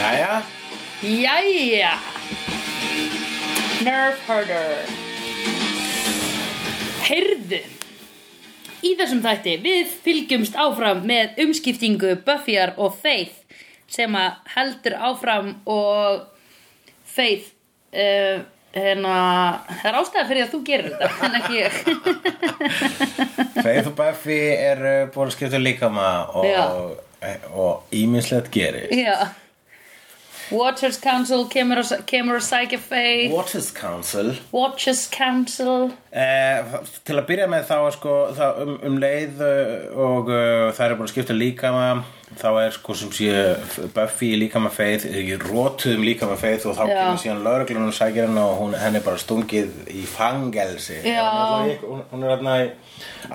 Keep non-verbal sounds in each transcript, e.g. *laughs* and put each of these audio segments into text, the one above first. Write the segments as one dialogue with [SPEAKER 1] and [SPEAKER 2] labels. [SPEAKER 1] Jæja,
[SPEAKER 2] Jæja! Nerf herder. Heyrðu. Í þessum þætti við fylgjumst áfram með umskiptingu Buffyar og Faith sem að heldur áfram og Faith uh, hérna, það er ástæða fyrir að þú gerir þetta en ekki ég *laughs*
[SPEAKER 1] Faith og Buffy eru búin að skipta um líkama
[SPEAKER 2] Já.
[SPEAKER 1] og, og ímislegt gerir
[SPEAKER 2] Já. Watchers Council kemur að, kemur að sækja Faith
[SPEAKER 1] Waters Council
[SPEAKER 2] Watchers Council
[SPEAKER 1] Eh, til að byrja með þá er sko, þá um, um leið eh, og uh, það er búin að skipta líkama þá er sko sem sé Buffy í líkama feið, ég rótuðum líkama feið og þá
[SPEAKER 2] Já.
[SPEAKER 1] kemur síðan lögreglun og sækir henn og hún, henn er bara stungið í fangelsi
[SPEAKER 2] Já.
[SPEAKER 1] Hún, er- hún, hún er hérna í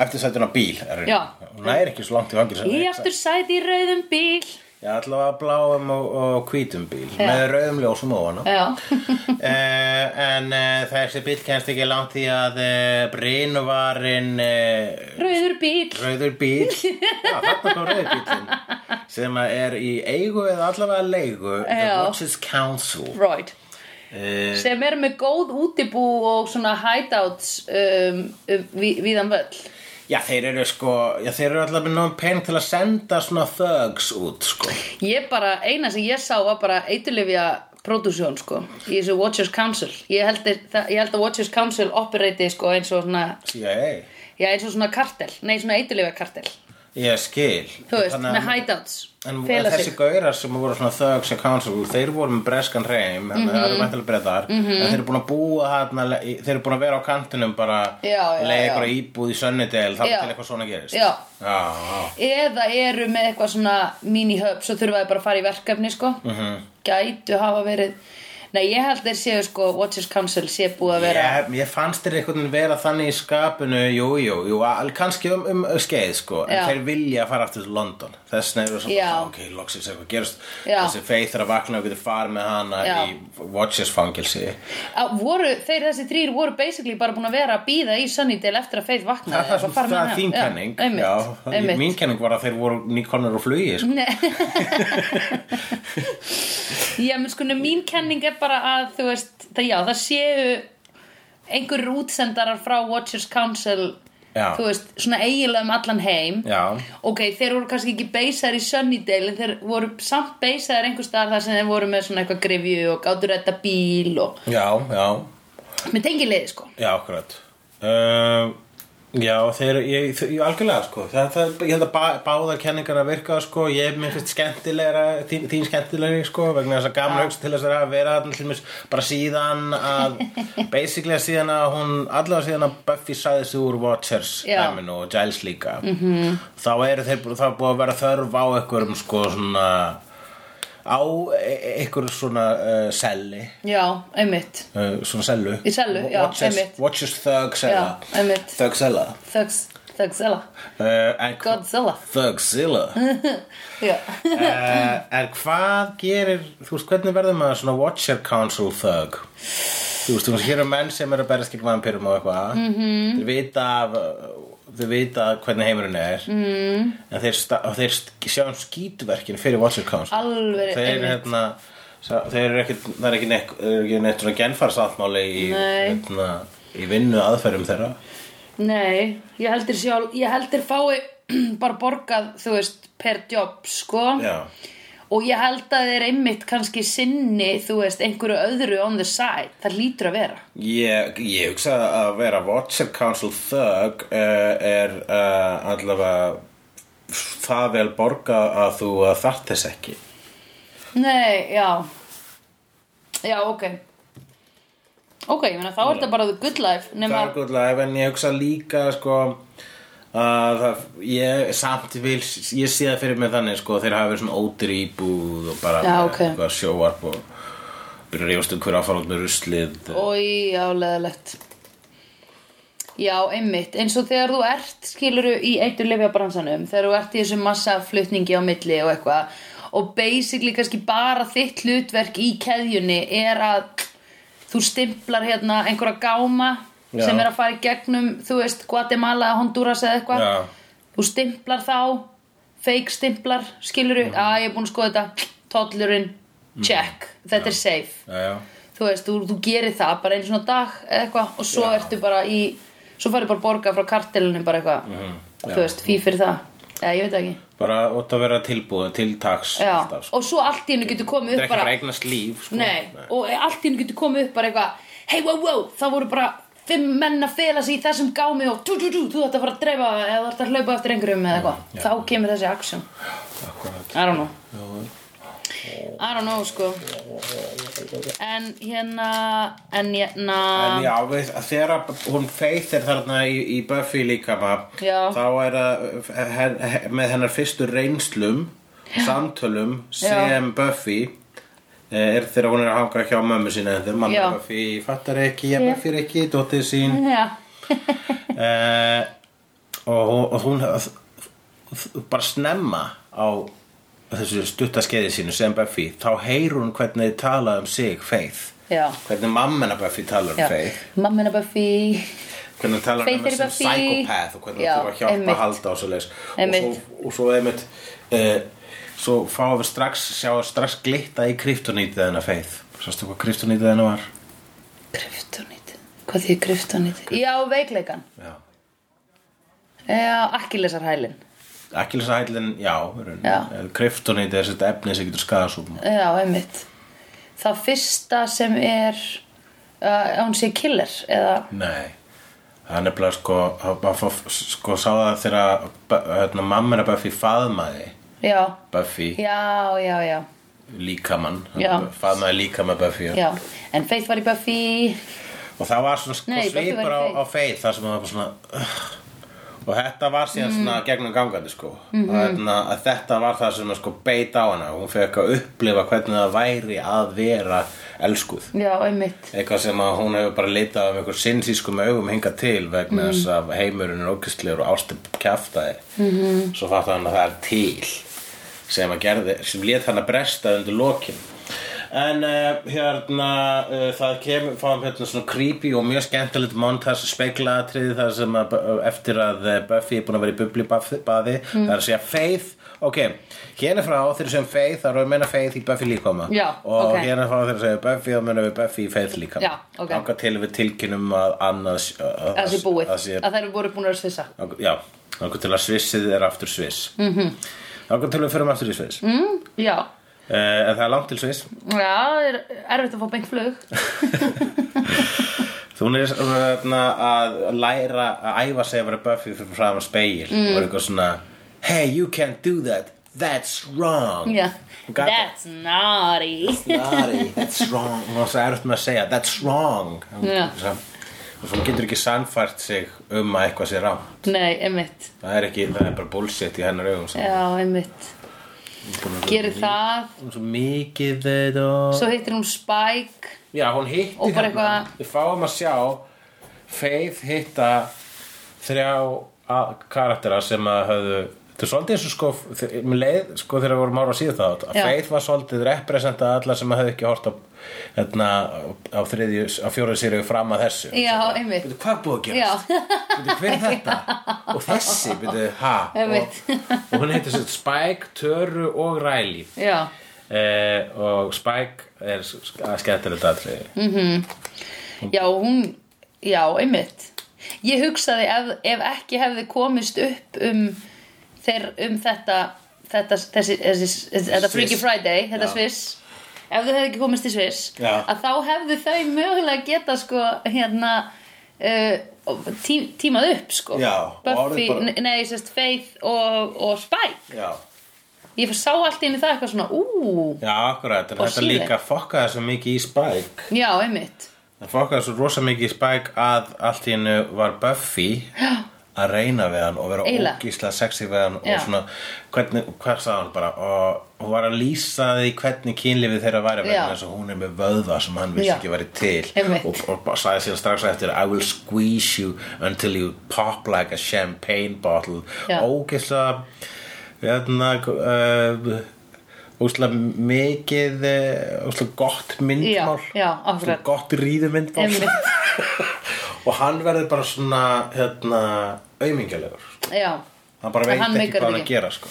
[SPEAKER 1] eftirsætun á bíl er,
[SPEAKER 2] Já.
[SPEAKER 1] hún næri ekki svo langt í fangelsi
[SPEAKER 2] Í aftur sæti í rauðum bíl
[SPEAKER 1] Já, allavega bláum og, og hvítum bíl
[SPEAKER 2] Já.
[SPEAKER 1] með rauðum ljósum ofan *laughs* á
[SPEAKER 2] Já *laughs*
[SPEAKER 1] uh, en uh, þessi bíl kemst ekki langt í að uh, Brynvarinn uh,
[SPEAKER 2] Rauður bíl
[SPEAKER 1] rauður
[SPEAKER 2] *laughs*
[SPEAKER 1] bíl já, þarna kom rauður bílinn sem að er í eigu eða allavega leigu The
[SPEAKER 2] Já.
[SPEAKER 1] Watches Council
[SPEAKER 2] Right
[SPEAKER 1] uh,
[SPEAKER 2] sem er með góð útibú og svona hideouts um, um, við, viðan völl
[SPEAKER 1] já, þeir eru sko já, þeir eru allavega með nóg pening til að senda svona thugs út sko.
[SPEAKER 2] ég bara, eina sem ég sá var bara eiturlifja pródúsjón sko í þessu Watchers Council ég held, þeir- það- ég held að Watchers Council opereiti sko eins og svona
[SPEAKER 1] CIA
[SPEAKER 2] já eins og svona kartel, nei svona eiturlifja kartel
[SPEAKER 1] ég skil
[SPEAKER 2] þú veist,
[SPEAKER 1] Þannig að-
[SPEAKER 2] með hideouts
[SPEAKER 1] En
[SPEAKER 2] fela
[SPEAKER 1] þessi
[SPEAKER 2] sig
[SPEAKER 1] gaurar sem voru svona thugs og council, þeir voru með breskan reym, þannig að það
[SPEAKER 2] Mhm.
[SPEAKER 1] eru mæntilega breyðar, en þeir eru búin að búa þarna, þeir eru búin að vera á kantinum bara,
[SPEAKER 2] Já, já,
[SPEAKER 1] leiða
[SPEAKER 2] já.
[SPEAKER 1] eitthvað íbúð í sönnudel, þar
[SPEAKER 2] Já.
[SPEAKER 1] til eitthvað svona gerist.
[SPEAKER 2] Já.
[SPEAKER 1] Já, já.
[SPEAKER 2] eða eru með eitthvað svona mini-hub svo þurfa þið bara að fara í verkefni sko -hmm.
[SPEAKER 1] Mhm.
[SPEAKER 2] gætu hafa verið nei ég held þeir séu sko Watchers Council sé búið að vera
[SPEAKER 1] Ég, ég fannst þér einhvern veginn vera þannig í skapinu, jú, jú, jú, al, kannski um, um skeið, sko, en
[SPEAKER 2] Já.
[SPEAKER 1] þeir vilja fara aftur til London. Þess vegna eru svona,
[SPEAKER 2] Já.
[SPEAKER 1] ok, loksins eitthvað gerist,
[SPEAKER 2] Já.
[SPEAKER 1] þessi feið þarf að vakna og getur farið með hana
[SPEAKER 2] Já.
[SPEAKER 1] í Watchers fangelsi.
[SPEAKER 2] Að voru, þeir þessi þrýr voru basically bara búin að vera að býða í Sunnydale eftir að Faith vaknaði
[SPEAKER 1] það, það, það, það er þín kenning
[SPEAKER 2] já, einmitt,
[SPEAKER 1] já,
[SPEAKER 2] einmitt.
[SPEAKER 1] mín kenning var að þeir voru nýkonur og flugi sko.
[SPEAKER 2] *laughs* já, menn sko, mín kenning er bara að þú veist, það, já, það séu einhverjur útsendarar frá Watchers Council
[SPEAKER 1] Já.
[SPEAKER 2] þú veist, svona eiginlega um allan heim
[SPEAKER 1] já,
[SPEAKER 2] ok, þeir voru kannski ekki beisar í Sunnydale en þeir voru samt beisar einhvers staðar þar sem þeir voru með svona eitthvað grifju og gátur þetta bíl og
[SPEAKER 1] já, já
[SPEAKER 2] með tengilegði sko
[SPEAKER 1] já, akkurat uh, já, þeir ég, þau- ég, algjörlega, sko það, það, ég held að bá, báðar kenningar að virka, sko ég mér finnst skemmtilegra, þín, þín skemmtilegri sko, vegna þess að gaman hugsa til þess að vera þarna til mér, bara síðan að basically að síðan að hún allavega síðan að Buffy sæði sig úr Watchers
[SPEAKER 2] Já.
[SPEAKER 1] dæminu og Giles líka -hmm. þá eru þeir, bú- þá er búið að vera þörf á einhverjum, sko, svona á e- einhverjum svona uh, selli
[SPEAKER 2] já, einmitt,
[SPEAKER 1] Uh, svona sellu
[SPEAKER 2] Í sellu, já,
[SPEAKER 1] Watches,
[SPEAKER 2] einmitt.
[SPEAKER 1] Watches Thug Sella
[SPEAKER 2] Já, einmitt.
[SPEAKER 1] Thug Sella
[SPEAKER 2] Thugs, Thugzilla
[SPEAKER 1] uh, en-
[SPEAKER 2] Godzilla
[SPEAKER 1] Thug Silla
[SPEAKER 2] *laughs*
[SPEAKER 1] uh,
[SPEAKER 2] já. Eh,
[SPEAKER 1] En hvað gerir Þú veist, hvernig verður maður svona Watcher Council Thug Þú veist, þú veist, hér eru menn sem eru að berast gegn vampirum og eitthvað mm
[SPEAKER 2] Mhm.
[SPEAKER 1] -hmm. Þeir vita af Þeir vita hvernig heimurinn er mm.
[SPEAKER 2] Mhm.
[SPEAKER 1] En þeir, sta- og þeir sk- sjá um skítverkin fyrir Watcher Council
[SPEAKER 2] Alveg,
[SPEAKER 1] Þeir eru
[SPEAKER 2] einmitt.
[SPEAKER 1] hérna sá- Þeir eru ekkert, það er ekki neitt, er ekki neitt svona genfarsáttmáli í,
[SPEAKER 2] Nei.
[SPEAKER 1] hérna, í vinnu aðferðum þeirra
[SPEAKER 2] nei, ég heldur sjálf ég heldur fái *clears throat* bara borgað þú veist, per job sko
[SPEAKER 1] Já,
[SPEAKER 2] og ég held að þeir einmitt kannski sinni, þú veist, einhverju öðru on the side, það lítur að vera
[SPEAKER 1] ég, ég hugsa að vera Watcher Council Thug uh, er uh, allavega það vel borga að þú uh, þart þess ekki
[SPEAKER 2] Nei, já Já, ok Ok, ég meina þá er þetta bara the good life
[SPEAKER 1] Það
[SPEAKER 2] nema,
[SPEAKER 1] er good life en ég hugsa líka sko að það, ég samt vil ég sé það fyrir mig þannig sko þeir hafa verið svona ótir íbúð og bara
[SPEAKER 2] Já,
[SPEAKER 1] með
[SPEAKER 2] ok.
[SPEAKER 1] eitthvað sjóarp og byrja að rífast um hver áfárat með ruslið
[SPEAKER 2] Ói, já, leðalegt Já, einmitt eins og þegar þú ert, skiluru í eitur lifjabransanum, þegar þú ert í þessu massa flutningi á milli og eitthvað og basically kannski bara þitt hlutverk í keðjunni er að þú stimplar hérna einhverja gáma
[SPEAKER 1] Já.
[SPEAKER 2] sem er að fara í gegnum, þú veist, Guatemala, Honduras eða eitthvað
[SPEAKER 1] Já.
[SPEAKER 2] þú stimplar þá fake stimplar, skiluru að ég er búin að skoða þetta, tollurinn check, þetta er safe
[SPEAKER 1] Mm. já, já,
[SPEAKER 2] þú veist, þú, þú gerir það bara einu svona dag eða eitthvað og svo ertu bara í svo færðu bara að borga frá kartelunum bara eitthvað,
[SPEAKER 1] já.
[SPEAKER 2] þú veist, fí fyrir það eða ég veit það ekki
[SPEAKER 1] bara ótt að vera tilbúið til taks
[SPEAKER 2] Já,
[SPEAKER 1] alltaf, sko.
[SPEAKER 2] og svo allt í hennu getur komið
[SPEAKER 1] þetta er
[SPEAKER 2] upp
[SPEAKER 1] ekki
[SPEAKER 2] bara
[SPEAKER 1] bara eignast líf sko.
[SPEAKER 2] Nei, og allt í hennu getur komið upp bara eitthvað Hey, wow, wow, það voru bara fimm menn að fela sig í þessum gámi og tú, tú, tú, þú ætti að fara að dreifa eða þú ætti að hlaupa eftir einhverjum eða eitthvað þá kemur þessi action
[SPEAKER 1] Akkúrat.
[SPEAKER 2] I don't know I don't know, sko En hérna En hérna
[SPEAKER 1] En já, við, þegar að- hún Faith er þarna í, í Buffy líka maður,
[SPEAKER 2] Já.
[SPEAKER 1] þá er að her, her, með hennar fyrstu reynslum, samtölum sem Buffy eh, er þegar hún er að hanga hjá mömmu sína þegar mann
[SPEAKER 2] Já.
[SPEAKER 1] er Buffy, fattar ekki, ég Buffy er ekki, dóttir sín
[SPEAKER 2] Já,
[SPEAKER 1] eh, og, og hún bara snemma á þessu stuttaskeiði sínu sem Buffy þá heyr hún hvernig þið tala um sig Faith
[SPEAKER 2] já
[SPEAKER 1] hvernig mamma Buffy tala um
[SPEAKER 2] Já.
[SPEAKER 1] Faith
[SPEAKER 2] Mammina Buffy
[SPEAKER 1] hvernig hann talar um
[SPEAKER 2] Faith
[SPEAKER 1] hana
[SPEAKER 2] er
[SPEAKER 1] sem
[SPEAKER 2] Buffy.
[SPEAKER 1] psychopath og hvernig
[SPEAKER 2] Já,
[SPEAKER 1] hann þurfa að hjálpa
[SPEAKER 2] einmitt.
[SPEAKER 1] að halda á svo leis og
[SPEAKER 2] Einmitt.
[SPEAKER 1] svo, og svo einmitt uh, svo fáum við strax sjá strax glitta í kryptonítið hennar Faith sástu hvað kryptonítið hennar var
[SPEAKER 2] Kryftonit Hvað því kryftonit? Já, veikleikan
[SPEAKER 1] já
[SPEAKER 2] Já, akkilesarhælin
[SPEAKER 1] Akkilsahællin, já, eh,
[SPEAKER 2] Já.
[SPEAKER 1] kryptonítið er þetta efni sem getur skadað svo
[SPEAKER 2] Já, einmitt Það fyrsta sem er uh, hún sé killer eða,
[SPEAKER 1] Nei, það er nefnilega sko, hann fór- sko sá það þegar að, hérna, mamma hennar Buffy faðmaði
[SPEAKER 2] já,
[SPEAKER 1] Buffy
[SPEAKER 2] já, já, já,
[SPEAKER 1] líkamann
[SPEAKER 2] Já.
[SPEAKER 1] faðmaði líkamann Buffy já.
[SPEAKER 2] já En Faith var í Buffy
[SPEAKER 1] og það var svona sko
[SPEAKER 2] Nei, Buffy
[SPEAKER 1] svipur
[SPEAKER 2] var
[SPEAKER 1] á,
[SPEAKER 2] í Faith.
[SPEAKER 1] á feið þar sem það var bara svona uh, og þetta var síðan svona gegnum gangandi sko mm -hmm. að, að þetta var það sem sko beit á hana hún fekk að upplifa hvernig það væri að vera elskuð
[SPEAKER 2] Já, einmitt
[SPEAKER 1] eitthvað sem að hún hefur bara litað um einhver sinnsískum augum hingað til vegna
[SPEAKER 2] Mhm.
[SPEAKER 1] þess að heimurinn er ókistlegur og ástum kjaftaði mm
[SPEAKER 2] Mhm.
[SPEAKER 1] -hmm. svo fatt hann að það er til sem að gerði, sem lét hann að bresta undir lokin en uh, hérna uh, það kemur, fáum hérna svona creepy og mjög skemmtilegt montas speglatriði þar sem að uh, eftir að eh, Buffy er búin að vera í bublibaði
[SPEAKER 2] Mhm.
[SPEAKER 1] mm. það er að segja Faith ok, hérna frá þeir sem Faith það eru að menna Faith í Buffy líkoma
[SPEAKER 2] Já,
[SPEAKER 1] og
[SPEAKER 2] ok.
[SPEAKER 1] hérna fá þeir að segja Buffy og munum við Buffy í feið líka
[SPEAKER 2] Já, ok.
[SPEAKER 1] Þangað til við tilkynum að annars að,
[SPEAKER 2] að það sé búið,
[SPEAKER 1] að sé,
[SPEAKER 2] að þær voru búin að svissa
[SPEAKER 1] þangað- Já, þangað til að svissið er aftur sviss mm
[SPEAKER 2] Mhm.
[SPEAKER 1] -hmm. Þangað til við förum aftur í sviss mm.
[SPEAKER 2] mm, Já,
[SPEAKER 1] En það er langt til sviss
[SPEAKER 2] já, það er erfitt að fá beint flug
[SPEAKER 1] Þú hún er svona að læra að æfa sig að vera Buffy fyrir fram að speil
[SPEAKER 2] Mm.
[SPEAKER 1] og er eitthvað svona Hey, you can't do that, that's wrong
[SPEAKER 2] Já,
[SPEAKER 1] Hún gat-
[SPEAKER 2] that's naughty
[SPEAKER 1] Sorry, that's wrong Hún var svo erfitt með að segja, that's wrong
[SPEAKER 2] Já.
[SPEAKER 1] Svo- Og svo hún getur ekki sannfært sig um að eitthvað sé rangt
[SPEAKER 2] Nei, einmitt
[SPEAKER 1] Það er ekki, það er bara bullshit í hennar augum sem
[SPEAKER 2] Já, einmitt
[SPEAKER 1] búin að-
[SPEAKER 2] Gerir það,
[SPEAKER 1] Hún er svo mikið þetta og...
[SPEAKER 2] svo hittir hún Spike
[SPEAKER 1] Já, hún hitti
[SPEAKER 2] Og bara
[SPEAKER 1] þarna.
[SPEAKER 2] eitthvað-
[SPEAKER 1] Við fáum að sjá Faith hitta þrjá a- karaktera sem að höfðu Þetta er svolítið eins og sko, þe- um leið, sko þegar við vorum ára síða það að
[SPEAKER 2] Já.
[SPEAKER 1] Faith var svolítið representa alla sem höfðu ekki hort á, hérna, á, þriðju, á fjóruð sýrið fram að þessu
[SPEAKER 2] Já, einmitt
[SPEAKER 1] Byrju, hvað er búið að
[SPEAKER 2] Já, *laughs*
[SPEAKER 1] gerast? Byrju, hver er þetta? og þessi, byrju, ha? Og,
[SPEAKER 2] Einmitt.
[SPEAKER 1] og hún heitir sér Spike, Töru og Riley
[SPEAKER 2] já
[SPEAKER 1] eh, og Spike er skemmtilegt atriði
[SPEAKER 2] Já, hún, já, einmitt Ég hugsaði ef, ef ekki hefði komist upp um, þeir, um þetta, þetta, þessi, þessi, þetta
[SPEAKER 1] Sviss.
[SPEAKER 2] Freaky Friday, þetta
[SPEAKER 1] Já.
[SPEAKER 2] Sviss Ef þau hefði ekki komist í Sviss
[SPEAKER 1] Já.
[SPEAKER 2] að þá hefði þau mögulega geta sko, hérna uh, tí, tímað upp sko
[SPEAKER 1] Já, og
[SPEAKER 2] Buffy,
[SPEAKER 1] orðið bara-
[SPEAKER 2] nei, nei, sérst Faith og, og Spike
[SPEAKER 1] Já,
[SPEAKER 2] Ég sá allt inn í það eitthvað svona, ú
[SPEAKER 1] Já akkurat, en
[SPEAKER 2] Og
[SPEAKER 1] þetta
[SPEAKER 2] síðan.
[SPEAKER 1] líka fokkaði svo mikið í Spike
[SPEAKER 2] Já, einmitt
[SPEAKER 1] Það fokkaði svo rosa mikið í Spike að allt í hennu var Buffy að reyna við hann og vera
[SPEAKER 2] Eiginlega.
[SPEAKER 1] ógísla sexy við hann
[SPEAKER 2] Já.
[SPEAKER 1] og svona, hvernig, hvað sagði hann bara og hún var að lýsa því hvernig kynlífið þeirra væri vegna
[SPEAKER 2] Já.
[SPEAKER 1] þess að hún er með vöðva sem hann vissi
[SPEAKER 2] Já.
[SPEAKER 1] ekki væri til
[SPEAKER 2] Einmitt.
[SPEAKER 1] og, og bara sagði síðan strax eftir I will squeeze you until you pop like a champagne bottle
[SPEAKER 2] Já.
[SPEAKER 1] ógísla hérna uh, ógísla mikið uh, ógísla gott myndmál
[SPEAKER 2] Já, já,
[SPEAKER 1] Ógeðslega
[SPEAKER 2] akkurat.
[SPEAKER 1] gott ríðumyndmál
[SPEAKER 2] Einmitt,
[SPEAKER 1] *laughs* og hann verður bara svona hérna, aumingjalegur
[SPEAKER 2] já
[SPEAKER 1] hann bara
[SPEAKER 2] En
[SPEAKER 1] veit
[SPEAKER 2] hann
[SPEAKER 1] ekki hvað
[SPEAKER 2] meikar þetta
[SPEAKER 1] hann að
[SPEAKER 2] ekki.
[SPEAKER 1] gera sko.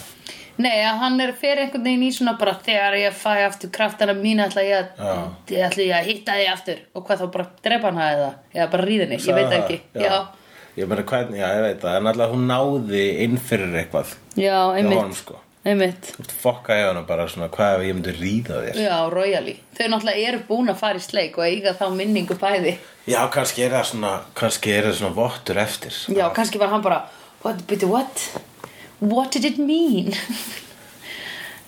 [SPEAKER 2] Nei, að hann er fyrir einhvern veginn í svona bara þegar ég fæ aftur kraftana mína ætla ég að, ég ætla ég að hitta þig aftur og hvað þá bara drepa hana eða eða bara ríðinni, ég veit ekki
[SPEAKER 1] já.
[SPEAKER 2] já,
[SPEAKER 1] Ég meina hvernig, já, ég veit það En alltaf hún náði inn fyrir eitthvað
[SPEAKER 2] já,
[SPEAKER 1] hjá
[SPEAKER 2] einmitt,
[SPEAKER 1] honum, sko
[SPEAKER 2] einmitt.
[SPEAKER 1] Þú ert fokka hjá hana bara svona Hvað ef ég myndi ríða þér?
[SPEAKER 2] Já, royali. Þau náttúrulega eru búin að fara í sleik og eiga þá minningu bæði.
[SPEAKER 1] Já, kannski er það svona Kannski er það svona vottur eftir sko.
[SPEAKER 2] Já, kannski var hann bara, what, byrju, what? What did it mean? *laughs*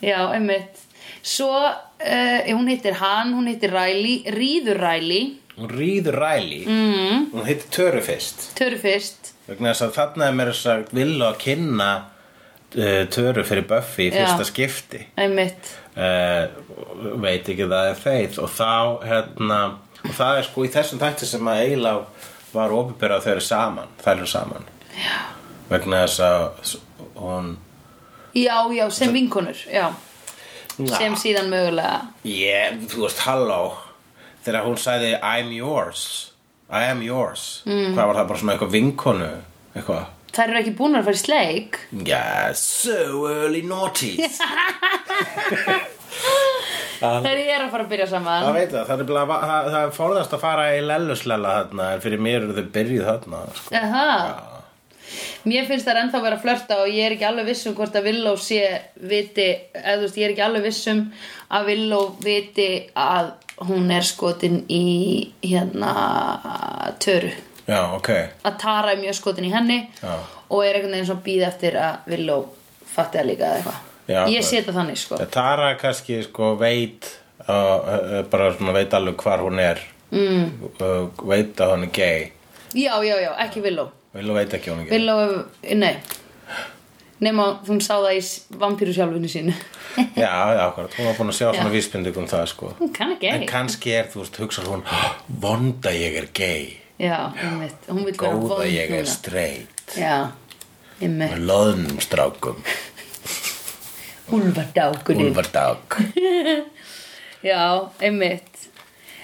[SPEAKER 2] Já, einmitt. Svo, uh, hún hittir hann, hún hittir Riley, ríður Riley,
[SPEAKER 1] Hún ríður ræli mm. Hún heitir Töru fyrst
[SPEAKER 2] törur fyrst.
[SPEAKER 1] vegna þess að þarna er mér þess að vilja að kynna uh, töru fyrir Buffy í
[SPEAKER 2] Já.
[SPEAKER 1] fyrsta skipti
[SPEAKER 2] Einmitt,
[SPEAKER 1] uh, veit ekki að það er feið og þá hérna og það er sko í þessum þætti sem að Eilá var opiðbyrða þau eru saman þær eru saman Já. vegna þess að s- hún
[SPEAKER 2] já, já, sem vinkonur, já, sem síðan mögulega,
[SPEAKER 1] ég, þú veist, halló þegar hún sagði I'm yours I am yours mm. hvað var það bara svona eitthvað vinkonu eitthvað
[SPEAKER 2] þær eru ekki búin að fara í sleik,
[SPEAKER 1] Yeah, so early noughties
[SPEAKER 2] þær eru að fara að byrja saman,
[SPEAKER 1] Það veit það, það er, bara, það, það er forðast að fara í lelluslela þarna en fyrir mér eru þau byrjuð þarna sko.
[SPEAKER 2] Aha. Mér finnst það ennþá vera að flörta og ég er ekki alveg viss um hvort að Villó sé viti, eða þú veist, ég er ekki alveg viss um að Villó viti að hún er skotin í hérna töru.
[SPEAKER 1] Já, ok
[SPEAKER 2] Að Tara er mjög skotin í henni
[SPEAKER 1] Já.
[SPEAKER 2] og er einhvern veginn svona býð eftir að Villó fatti það líka eða eitthvað.
[SPEAKER 1] Já,
[SPEAKER 2] Ég
[SPEAKER 1] það-
[SPEAKER 2] sé þetta þannig sko.
[SPEAKER 1] Tara kannski sko veit uh, bara svona veit alveg hvar hún er mm. veit að hún er gay
[SPEAKER 2] Já, já, já, ekki Villó.
[SPEAKER 1] vil og veit ekki að hún er gay
[SPEAKER 2] Villó, eh, nei. Nefna hún sá það í vampíru sjálfinu sínu.
[SPEAKER 1] Já, já, akkurat, hún var búin að sjá svona vísbindug um það sko
[SPEAKER 2] *laughs* Hún kann ekki.
[SPEAKER 1] En kannski er, þú veist, hugsar hún vonda ég er gay
[SPEAKER 2] Já, einmitt, hún vil vera
[SPEAKER 1] góða
[SPEAKER 2] vond
[SPEAKER 1] ég er
[SPEAKER 2] núna.
[SPEAKER 1] straight
[SPEAKER 2] Já, einmitt,
[SPEAKER 1] með loðnum strákum
[SPEAKER 2] úlfardákunin
[SPEAKER 1] úlfardag
[SPEAKER 2] Já, einmitt